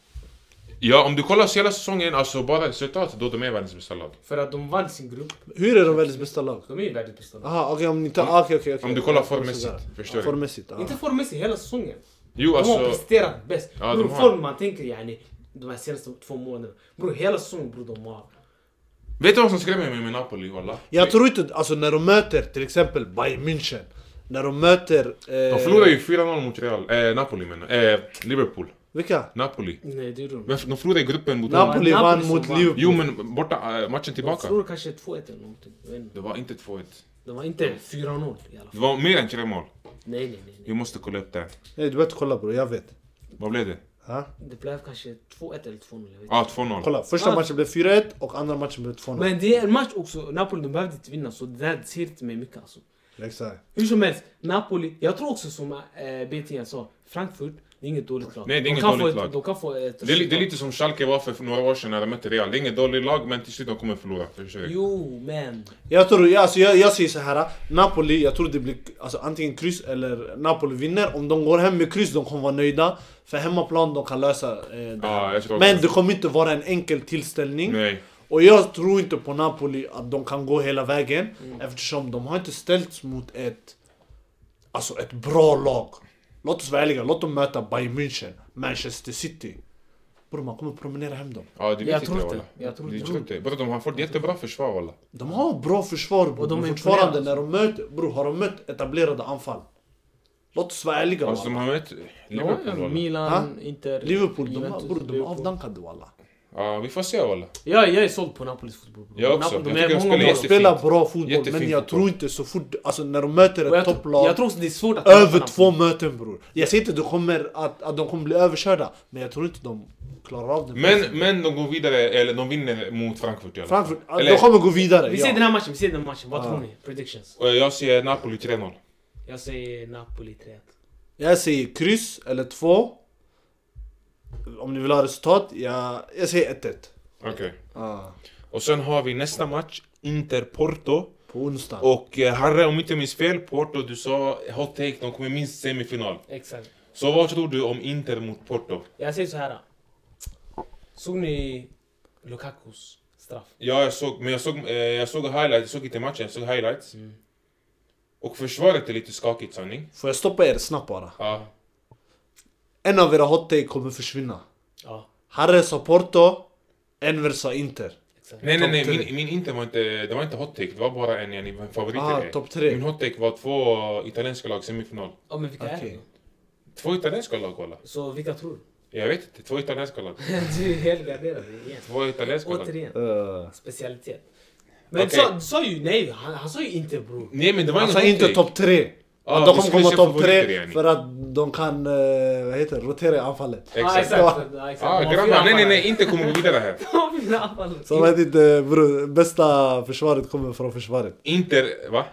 A: Ja, om du kollar hela säsongen, alltså bara resultatet, då de är världens bästa lag.
B: För att de vann sin grupp.
C: Hur är de världens bästa lag?
B: De är ju världens bästa lag.
C: Aha, okej om ni tar... ah, Okej, okej, okej.
A: Om du kollar
C: Sådär.
A: formmässigt, förstår du?
C: Formmässigt, ja.
B: Inte formmässigt, hela säsongen.
A: Jo
B: De har
A: alltså,
B: presterat bäst.
A: Ja,
B: bror,
A: de har.
B: form man tänker yani, de här senaste två månaderna. Bror, hela säsongen bror de har.
A: vet du vad som skrämmer mig med Napoli walla?
C: Jag tror inte, alltså när de möter till exempel Bayern München. När de möter... Eh,
A: De förlorade ju 4-0 mot Real, eh, Napoli menar eh, Liverpool.
C: Vilka?
A: Napoli.
B: Nej, det är de.
A: Varför- De förlorade i gruppen mot Napoli.
C: Napoli
B: Napoli
C: vann
B: som
C: mot
B: vann.
C: Liverpool.
A: Jo men borta, eh, matchen
B: De
A: tillbaka.
B: tror kanske 2-1 eller någonting. Jag vet inte.
A: Det var inte 2-1.
B: De var inte 4-0 i alla
A: Det
B: fall.
A: var mer än tre mål.
B: Nej, nej, nej. nej.
A: Vi måste kolla upp det. här.
C: Nej du behöver inte kolla bror, jag vet.
A: Vad blev det?
C: Ha?
B: Det blev kanske 2-1 eller 2-0. Jag vet.
A: Ja, ah, 2-0.
C: Kolla, e första
B: Ah.
C: matchen blev 4-1 och andra e matchen blev 2-0.
B: Men det är en match också. Napoli de behövde inte vinna så det där säger inte mig mycket alltså.
C: Exakt.
B: Hur som helst, Napoli. Jag tror också som eh, BTN sa, Frankfurt, det är inget dåligt lag.
A: Nej, det är
B: De
A: inget
B: kan få
A: dåligt
B: ett-
A: lag.
B: De kan få ett
A: Det är, li- det är
B: resultat.
A: lite som Schalke var för några år sedan när de mötte Real. Det är inget dåligt lag, men till slut de kommer förlora. Förstår du?
B: Jo, men.
C: Jag tror, jag, alltså, jag, jag säger så här. Napoli, jag tror det blir alltså, antingen kryss eller Napoli vinner. Om de går hem med kryss, de kommer vara nöjda. För hemmaplan, de kan lösa eh, det
A: Ja,
C: här.
A: jag tror
C: Men
A: också.
C: det kommer inte vara en enkel tillställning.
A: Nej.
C: Och jag tror inte på Napoli att de kan gå hela vägen eftersom de har inte ställts mot ett alltså ett bra lag. Låt oss vara ärliga, låt dem möta Bayern München, Manchester City. Bror man kommer promenera hem dem.
A: Ja, det vet
B: Jag tror
A: inte,
B: inte.
A: walla.
B: Jag tror
A: Det
B: inte.
A: tror inte. Bara de har fått jättebra försvar walla.
C: De har bra försvar bror.
B: Och de
C: men
B: är alltså.
C: fortfarande
B: imponerande.
C: när de möter, bror har de mött etablerade anfall. Låt oss vara ärliga
A: Alltså de
C: walla.
A: har mött
B: Ja,
A: Liverpool walla.
B: Milan, Inter,
C: Liverpool, de, har-
B: Juventus,
C: bror, de är
B: Liverpool.
C: avdankade walla.
A: Ja, vi får se walla.
B: Ja, jag är såld på Napolis fotboll. bror.
A: Jag också.
B: Napoli-
A: Jag
B: De
A: tycker de
B: är
A: spelar
B: många mål.
C: De
A: jättefint.
C: spelar bra fotboll
A: Jättefin
C: men jag
A: fotboll.
C: tror inte så fort, alltså när de möter
B: Och
C: ett
B: jag,
C: topplag.
B: tror- jag tror också det är svårt att...
C: Över två möten bror. Jag säger inte att de kommer, att, att de kommer bli överkörda, men jag tror inte de klarar av det.
A: Men, men de går vidare, eller de vinner mot Frankfurt i alla fall.
C: Frankfurt, att
A: Eller-
C: de kommer gå vidare.
B: Vi ser den
C: Ja.
B: här matchen, vi ser den här matchen. Vad
C: Ja.
B: tror ni? Predictions?
A: Och Jag ser Napoli 3-0.
B: Jag säger Napoli 3-1.
C: Jag säger kryss eller två. Om ni vill ha resultat, jag, jag säger 1-1.
A: Okej.
C: Ah,
A: Och sen har vi nästa match, Inter-Porto.
C: på onsdag.
A: Och eh, Harre, om inte jag minns fel, Porto, du sa hot take, de kommer minst semifinal.
B: Exakt.
A: Så vad tror du om Inter mot Porto?
B: Jag säger så här. Såg ni Lukakus Straff.
A: Ja, jag såg, men jag såg, eh, jag såg highlights, jag såg inte matchen, jag såg highlights. Och försvaret är lite skakigt sanning.
C: Får jag stoppa er snabbt bara?
A: Ja.
C: En av era hot take kommer försvinna.
B: Ja,
C: Harre sa Porto, Enver sa Inter.
B: exakt.
A: Nej nej
C: Topp
A: nej,
C: tre.
A: min, min inte var inte, det var inte hot take, det var bara en, en, en favorit.
C: Ah,
A: till er.
C: topp tre.
A: Min hot take var två italienska lag semifinal.
B: Ja, men vilka är
C: Okej.
B: det?
A: Två italienska lag kolla.
B: då? Så vilka tror du?
A: Jag vet inte, två italienska lag.
B: du är helt garderad igen.
A: Två italienska lag.
B: Återigen,
C: Eh,
B: specialitet. Men
A: Okej.
B: du, sa, du sa ju nej, han, han sa ju inte bror.
A: Nej men det var
C: han
A: ingen hot
C: sa Alltså, inte
A: take.
C: topp tre.
A: Ja,
C: de
A: vi
C: kommer
A: skulle
C: komma
A: se
C: topp
A: favoriter,
C: tre
A: yani.
C: för att de kan, eh, vad heter det, rotera i anfallet.
B: Ja,
A: Exakt.
B: exakt. Ja, exakt.
A: Ah,
B: De har fyra
A: grabbar, nej nej
B: anfallare.
A: nej, inte kommer gå vidare här.
B: De har fyra anfallare.
C: Så jag vet inte, bror, bästa försvaret kommer från försvaret.
A: Inter, va?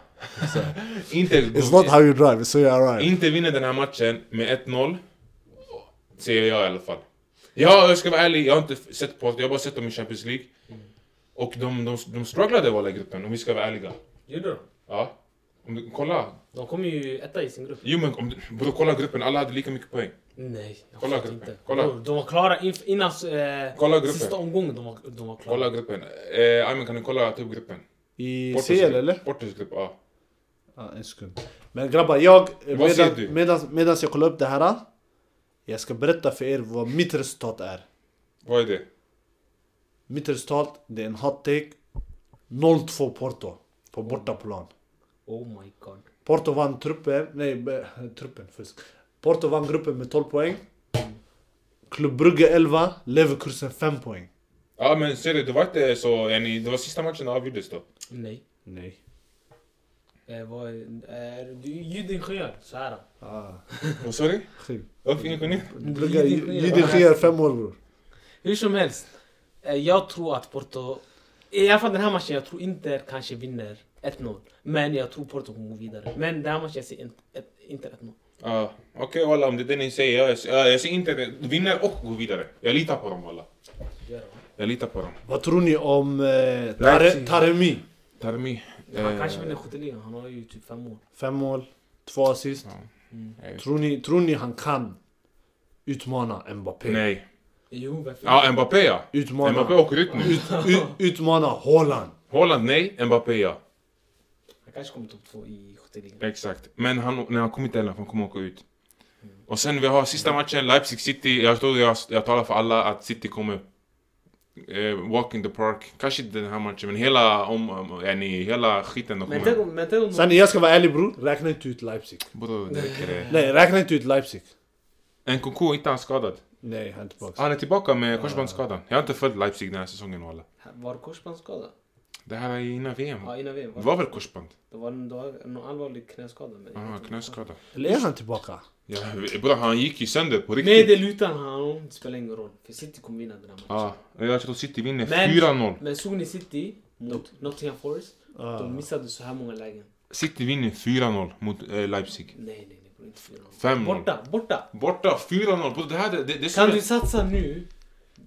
A: Inter,
C: Alltså, It's not how you drive, it's how you arrive.
A: Inter vinner den här matchen med 1-0. Säger jag i alla fall. Ja, jag ska vara ärlig, jag har inte sett Porto, jag har bara sett dem i Champions League. Och de, de, de strugglade walla i gruppen, om vi ska vara ärliga.
B: Gjorde de?
A: Ja. Om du, kolla.
B: De kom ju etta i sin grupp.
A: Jo men om du, bro, kolla gruppen, alla hade lika mycket poäng.
B: Nej, jag
A: Kolla
B: fattar
A: gruppen,
B: inte.
A: kolla.
B: Bror, de var klara inf- innan eh,
A: Kolla gruppen.
B: sista omgången. De var, de var klara.
A: Kolla gruppen. Eh, Ayman, kan du kolla typ gruppen?
C: I
A: Portos
C: CL
A: grupp.
C: eller?
A: Portos grupp, ja.
C: Ja, en sekund. Men grabbar, jag,
A: säger
C: eh, medan,
A: du?
C: medan, medan jag kollar upp det här. Jag ska berätta för er vad mitt resultat är.
A: Vad är det?
C: Mitt resultat, det är en hot take. 0-2 Porto. På bortaplan.
B: Oh my god.
C: Porto vann truppen, nej be- truppen fusk. Porto vann gruppen med 12 poäng. Klubb Brugge 11, Leverkusen 5 poäng.
A: Ja men ser du, det var inte så, yani, det var sista matchen avgjordes då.
B: Nej.
C: Nej.
B: Eh, vad är, är du är ljudingenjör. Så här.
C: Ah,
A: Vad sa du?
C: skit.
A: Varför ingen kunde?
C: Brugge, Jidin gör 5 mål bror.
B: Hur som helst. Eh, jag tror att Porto... I alla fall den här matchen, jag tror Inter kanske vinner 1-0. Men jag tror Porto kommer gå vidare. Men den här matchen, jag ser inte ett- Inter 1-0.
A: Ja, Ah, okej walla om det är det ni säger. Jag, jag, jag ser inte det. Vinner och går vidare. Jag litar på dem walla.
B: Gör det, va?
A: Jag litar på dem.
C: Vad tror ni om eh, Tare-
A: Leipzig.
C: Taremi?
A: Tarmi. eh,
B: Han kanske vinner skytteligan, han har ju typ fem mål.
C: 5 mål, 2 assist. Tror ni, tror ni han kan utmana Mbappé?
A: Nej.
B: Jo, varför
A: Ja, Mbappé ja.
C: Utmana.
A: Mbappé åker ut nu.
C: Ut, utmana Haaland.
A: Holland nej, Mbappé ja.
B: Han kanske kommer topp två i skytteligan. Exakt.
A: Exakt. Men han, när han kommer inte heller, för han kommer åka ut. Och sen vi har sista matchen, Leipzig City. Jag tror jag, jag talar för alla att City kommer eh, walk in the park. Kanske inte den här matchen, men hela, om, om, yani, hela skiten de
B: Men tänk
A: kommer...
B: om... Men tänk om
C: Sen jag ska vara ärlig bror, räkna inte ut Leipzig.
A: Bror, det räcker det.
C: Nej, räkna inte ut Leipzig.
A: Nkunku är inte han skadad?
C: Nej, han är tillbaka.
A: Han är tillbaka med korsbandsskadan. Jag har inte följt Leipzig den här säsongen walla.
B: Var korsbandsskada?
A: Det här är innan VM.
B: Ja, innan VM.
A: Det
B: Var,
A: var väl korsband?
B: det var, det var någon allvarlig knäskada. Men
A: Ja, knäskada.
C: Eller är han tillbaka?
A: Ja, bror han gick ju sönder på riktigt.
B: Med eller utan honom, det spelar ingen roll. För City kommer vinna den här matchen.
A: Ja, jag tror City vinner
B: Men-
A: 4-0.
B: Men såg ni City mot Nottingham Forest?
C: Ah.
B: De missade så här många lägen.
A: City vinner 4-0 mot eh, Leipzig.
B: Nej, nej, nej. bror, Inte 4-0.
A: 5-0.
B: Borta, borta!
A: Borta 4-0. Bror det här, det, det, det är
B: Kan
A: som
B: du
A: en-
B: satsa nu?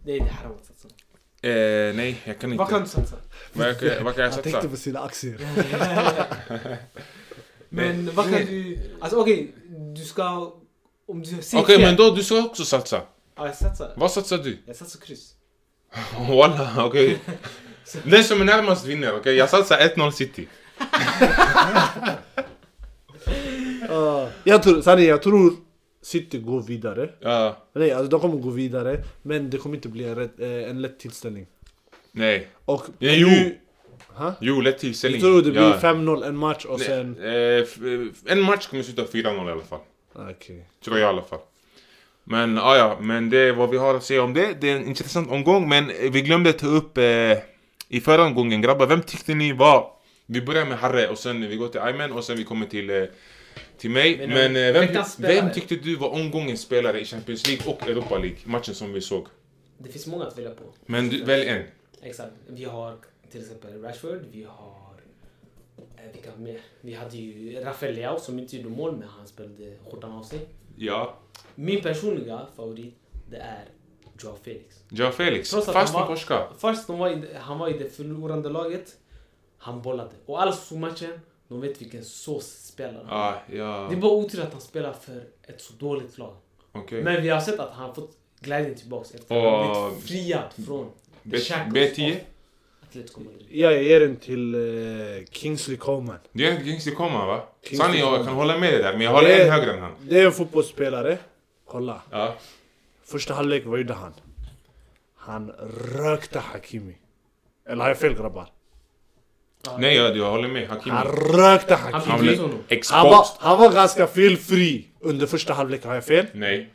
B: Nej, det här har man satsat.
A: Eh, nej, jag kan inte.
B: Vad kan du satsa?
A: Vad kan, vad kan jag
C: Han
A: satsa?
C: tänkte på sina aktier.
B: Men vad kan du... Alltså okej, du ska... Om du ser
A: Okej, men då du ska också satsa.
B: Ja, jag satsar.
A: Vad satsar du?
B: Jag satsar kryss.
A: Walla, okej. Den som är närmast vinner, okej? Jag satsar 1-0 City.
C: Ah, jag tror, sanning, jag tror City går vidare.
A: Ja,
C: Nej, alltså de kommer gå vidare. Men det kommer inte bli en, rätt, eh, en lätt tillställning.
A: nej.
C: Och
A: Ja, jo.
C: Ha?
A: Jo, lätt
C: Jag
A: tillställning.
C: tror det blir
A: Ja.
C: 5-0 en match och
A: Nej,
C: sen...
A: eh, f- eh, en match kommer sluta 4-0 i alla fall.
C: Okej.
A: Tror jag i alla fall. Men ah, ja, men det är vad vi har att säga om det. Det är en intressant omgång, men eh, vi glömde ta upp eh, i förra omgången. Grabbar, vem tyckte ni var... Vi börjar med Harre och sen vi går till Ayman och sen vi kommer till, eh, till mig.
B: Men,
A: Men,
B: eh,
A: eh, vem,
B: veckans spelare.
A: vem tyckte du var omgångens spelare i Champions League och Europa League? Matchen som vi såg.
B: Det finns många att välja på.
A: Men du, välj en.
B: Exakt. Vi har till exempel Rashford, vi har... Eh, vilka mer? Vi hade ju Rafael Leao som inte gjorde mål, men han spelade skjortan av sig.
A: Ja.
B: Min personliga favorit, det är Joao Felix.
A: Ja, Felix.
B: Trots att
A: Fast
B: han
A: med
B: var-
A: Korska.
B: Först de var i, han var i det förlorande laget, han bollade. Och alla som såg matchen, de vet vilken sås spelare han
A: Ah,
B: är.
A: ja,
B: Det är bara otur att han spelar för ett så dåligt lag.
A: okej.
B: Men vi har sett att han fått glädjen tillbaks efter att han
A: Och-
B: blivit friad från the
A: B-
B: shackles
A: B10?
B: of- Atletico Madrid.
C: Ja, jag ger den till eh, Kingsley Coman.
A: Det är inte Kingsley Coman va?
C: Kingsley
A: Sanni, jag
C: Coman.
A: kan hålla med dig där, men jag håller en högre än han.
C: Det är en fotbollsspelare. Kolla.
A: Ja.
C: Första halvlek, vad gjorde han? Han rökte Hakimi. Eller har jag fel grabbar?
A: Nej, jag, jag håller med. Hakimi.
C: Han rökte Hakimi.
A: Han
B: Han
A: blev
B: blir honom.
C: Han var,
A: exposed.
C: han var ganska felfri under första halvlek, har jag fel?
A: Nej.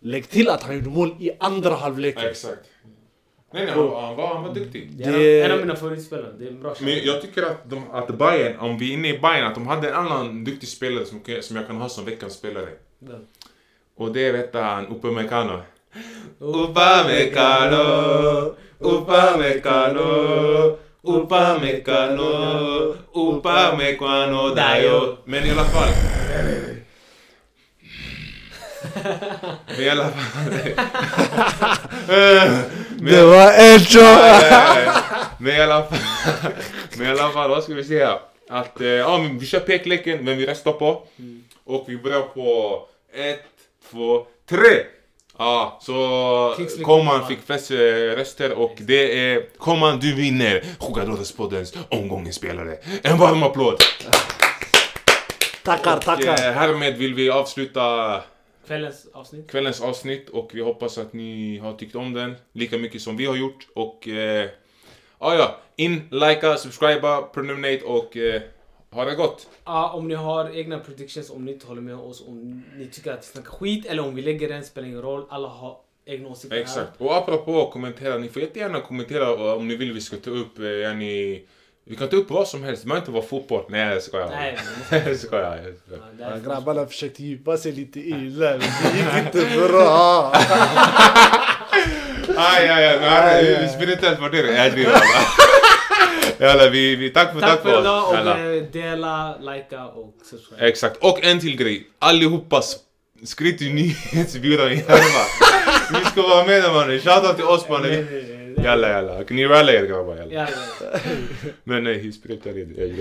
C: Lägg till att han gjorde mål i andra halvleken.
A: Exakt. Nej, nej, han, var- han, var, han var duktig.
B: Det är
C: Det-
B: en av mina favoritspelare. Det är en bra
A: Men jag tycker att, de, att Bayern, om vi är inne i Bayern, att de hade en annan duktig spelare som, som jag kan ha som veckans spelare.
B: Vem?
A: Och det vet han, Upamecano. Upamecano, Upamecano, Upamecano, Upamecano Dayo. Men i alla fall. Men i alla fall. Men-
C: Det var en
A: Nej,
C: shot!
A: nej, nej. Eh, Men i alla fall, men i alla fall vad ska vi säga? Att eh, ja, men vi kör pekleken, men vi restar på. Och vi börjar på ett, två, tre! Ja, så
B: Kingsley
A: Coman
B: Coman.
A: fick flest eh, röster och det är Coman, du vinner Jugadorespoddens omgångens spelare. En varm applåd!
C: Tackar,
A: Och, eh,
C: tackar.
A: härmed vill vi avsluta
B: Kvällens avsnitt.
A: kvällens avsnitt och vi hoppas att ni har tyckt om den lika mycket som vi har gjort och eh, ja, ja, in, likea, subscriba, prenumerate och eh, ha det gott!
B: Ja, om ni har egna predictions, om ni inte håller med oss, om ni tycker att vi snackar skit eller om vi lägger den spelar ingen roll. Alla har egna åsikter här.
A: Exakt. Och apropå att kommentera, ni får jättegärna kommentera och om ni vill vi ska ta upp, eh, är ni... Vi kan ta upp vad som helst, det behöver inte vara fotboll. Nej jag skojar.
B: Nej, men
A: jag skojar. jag
B: Ja,
A: skojar.
B: det här är
C: Grabbarna försökte djupa sig lite illa, men det gick inte bra.
A: Aj, aj, aj.
C: Aj, aj,
A: nej,
C: aj.
A: Vi spelar inte ens värdering. Jag driver bara. Jalla, vi, vi, tack för
B: Tack för idag och
A: Jalla.
B: eh, dela, likea och subscribe.
A: Exakt, och en till grej. Allihopa sp- skriv till nyhetsbyrån i Järva. Ni ska vara med där mannen, shoutout till oss
B: Eh,
A: mannen. Jalla jalla, ni rallar er grabbar jalla.
B: Jalla.
A: Men nej, hur spelar jag det?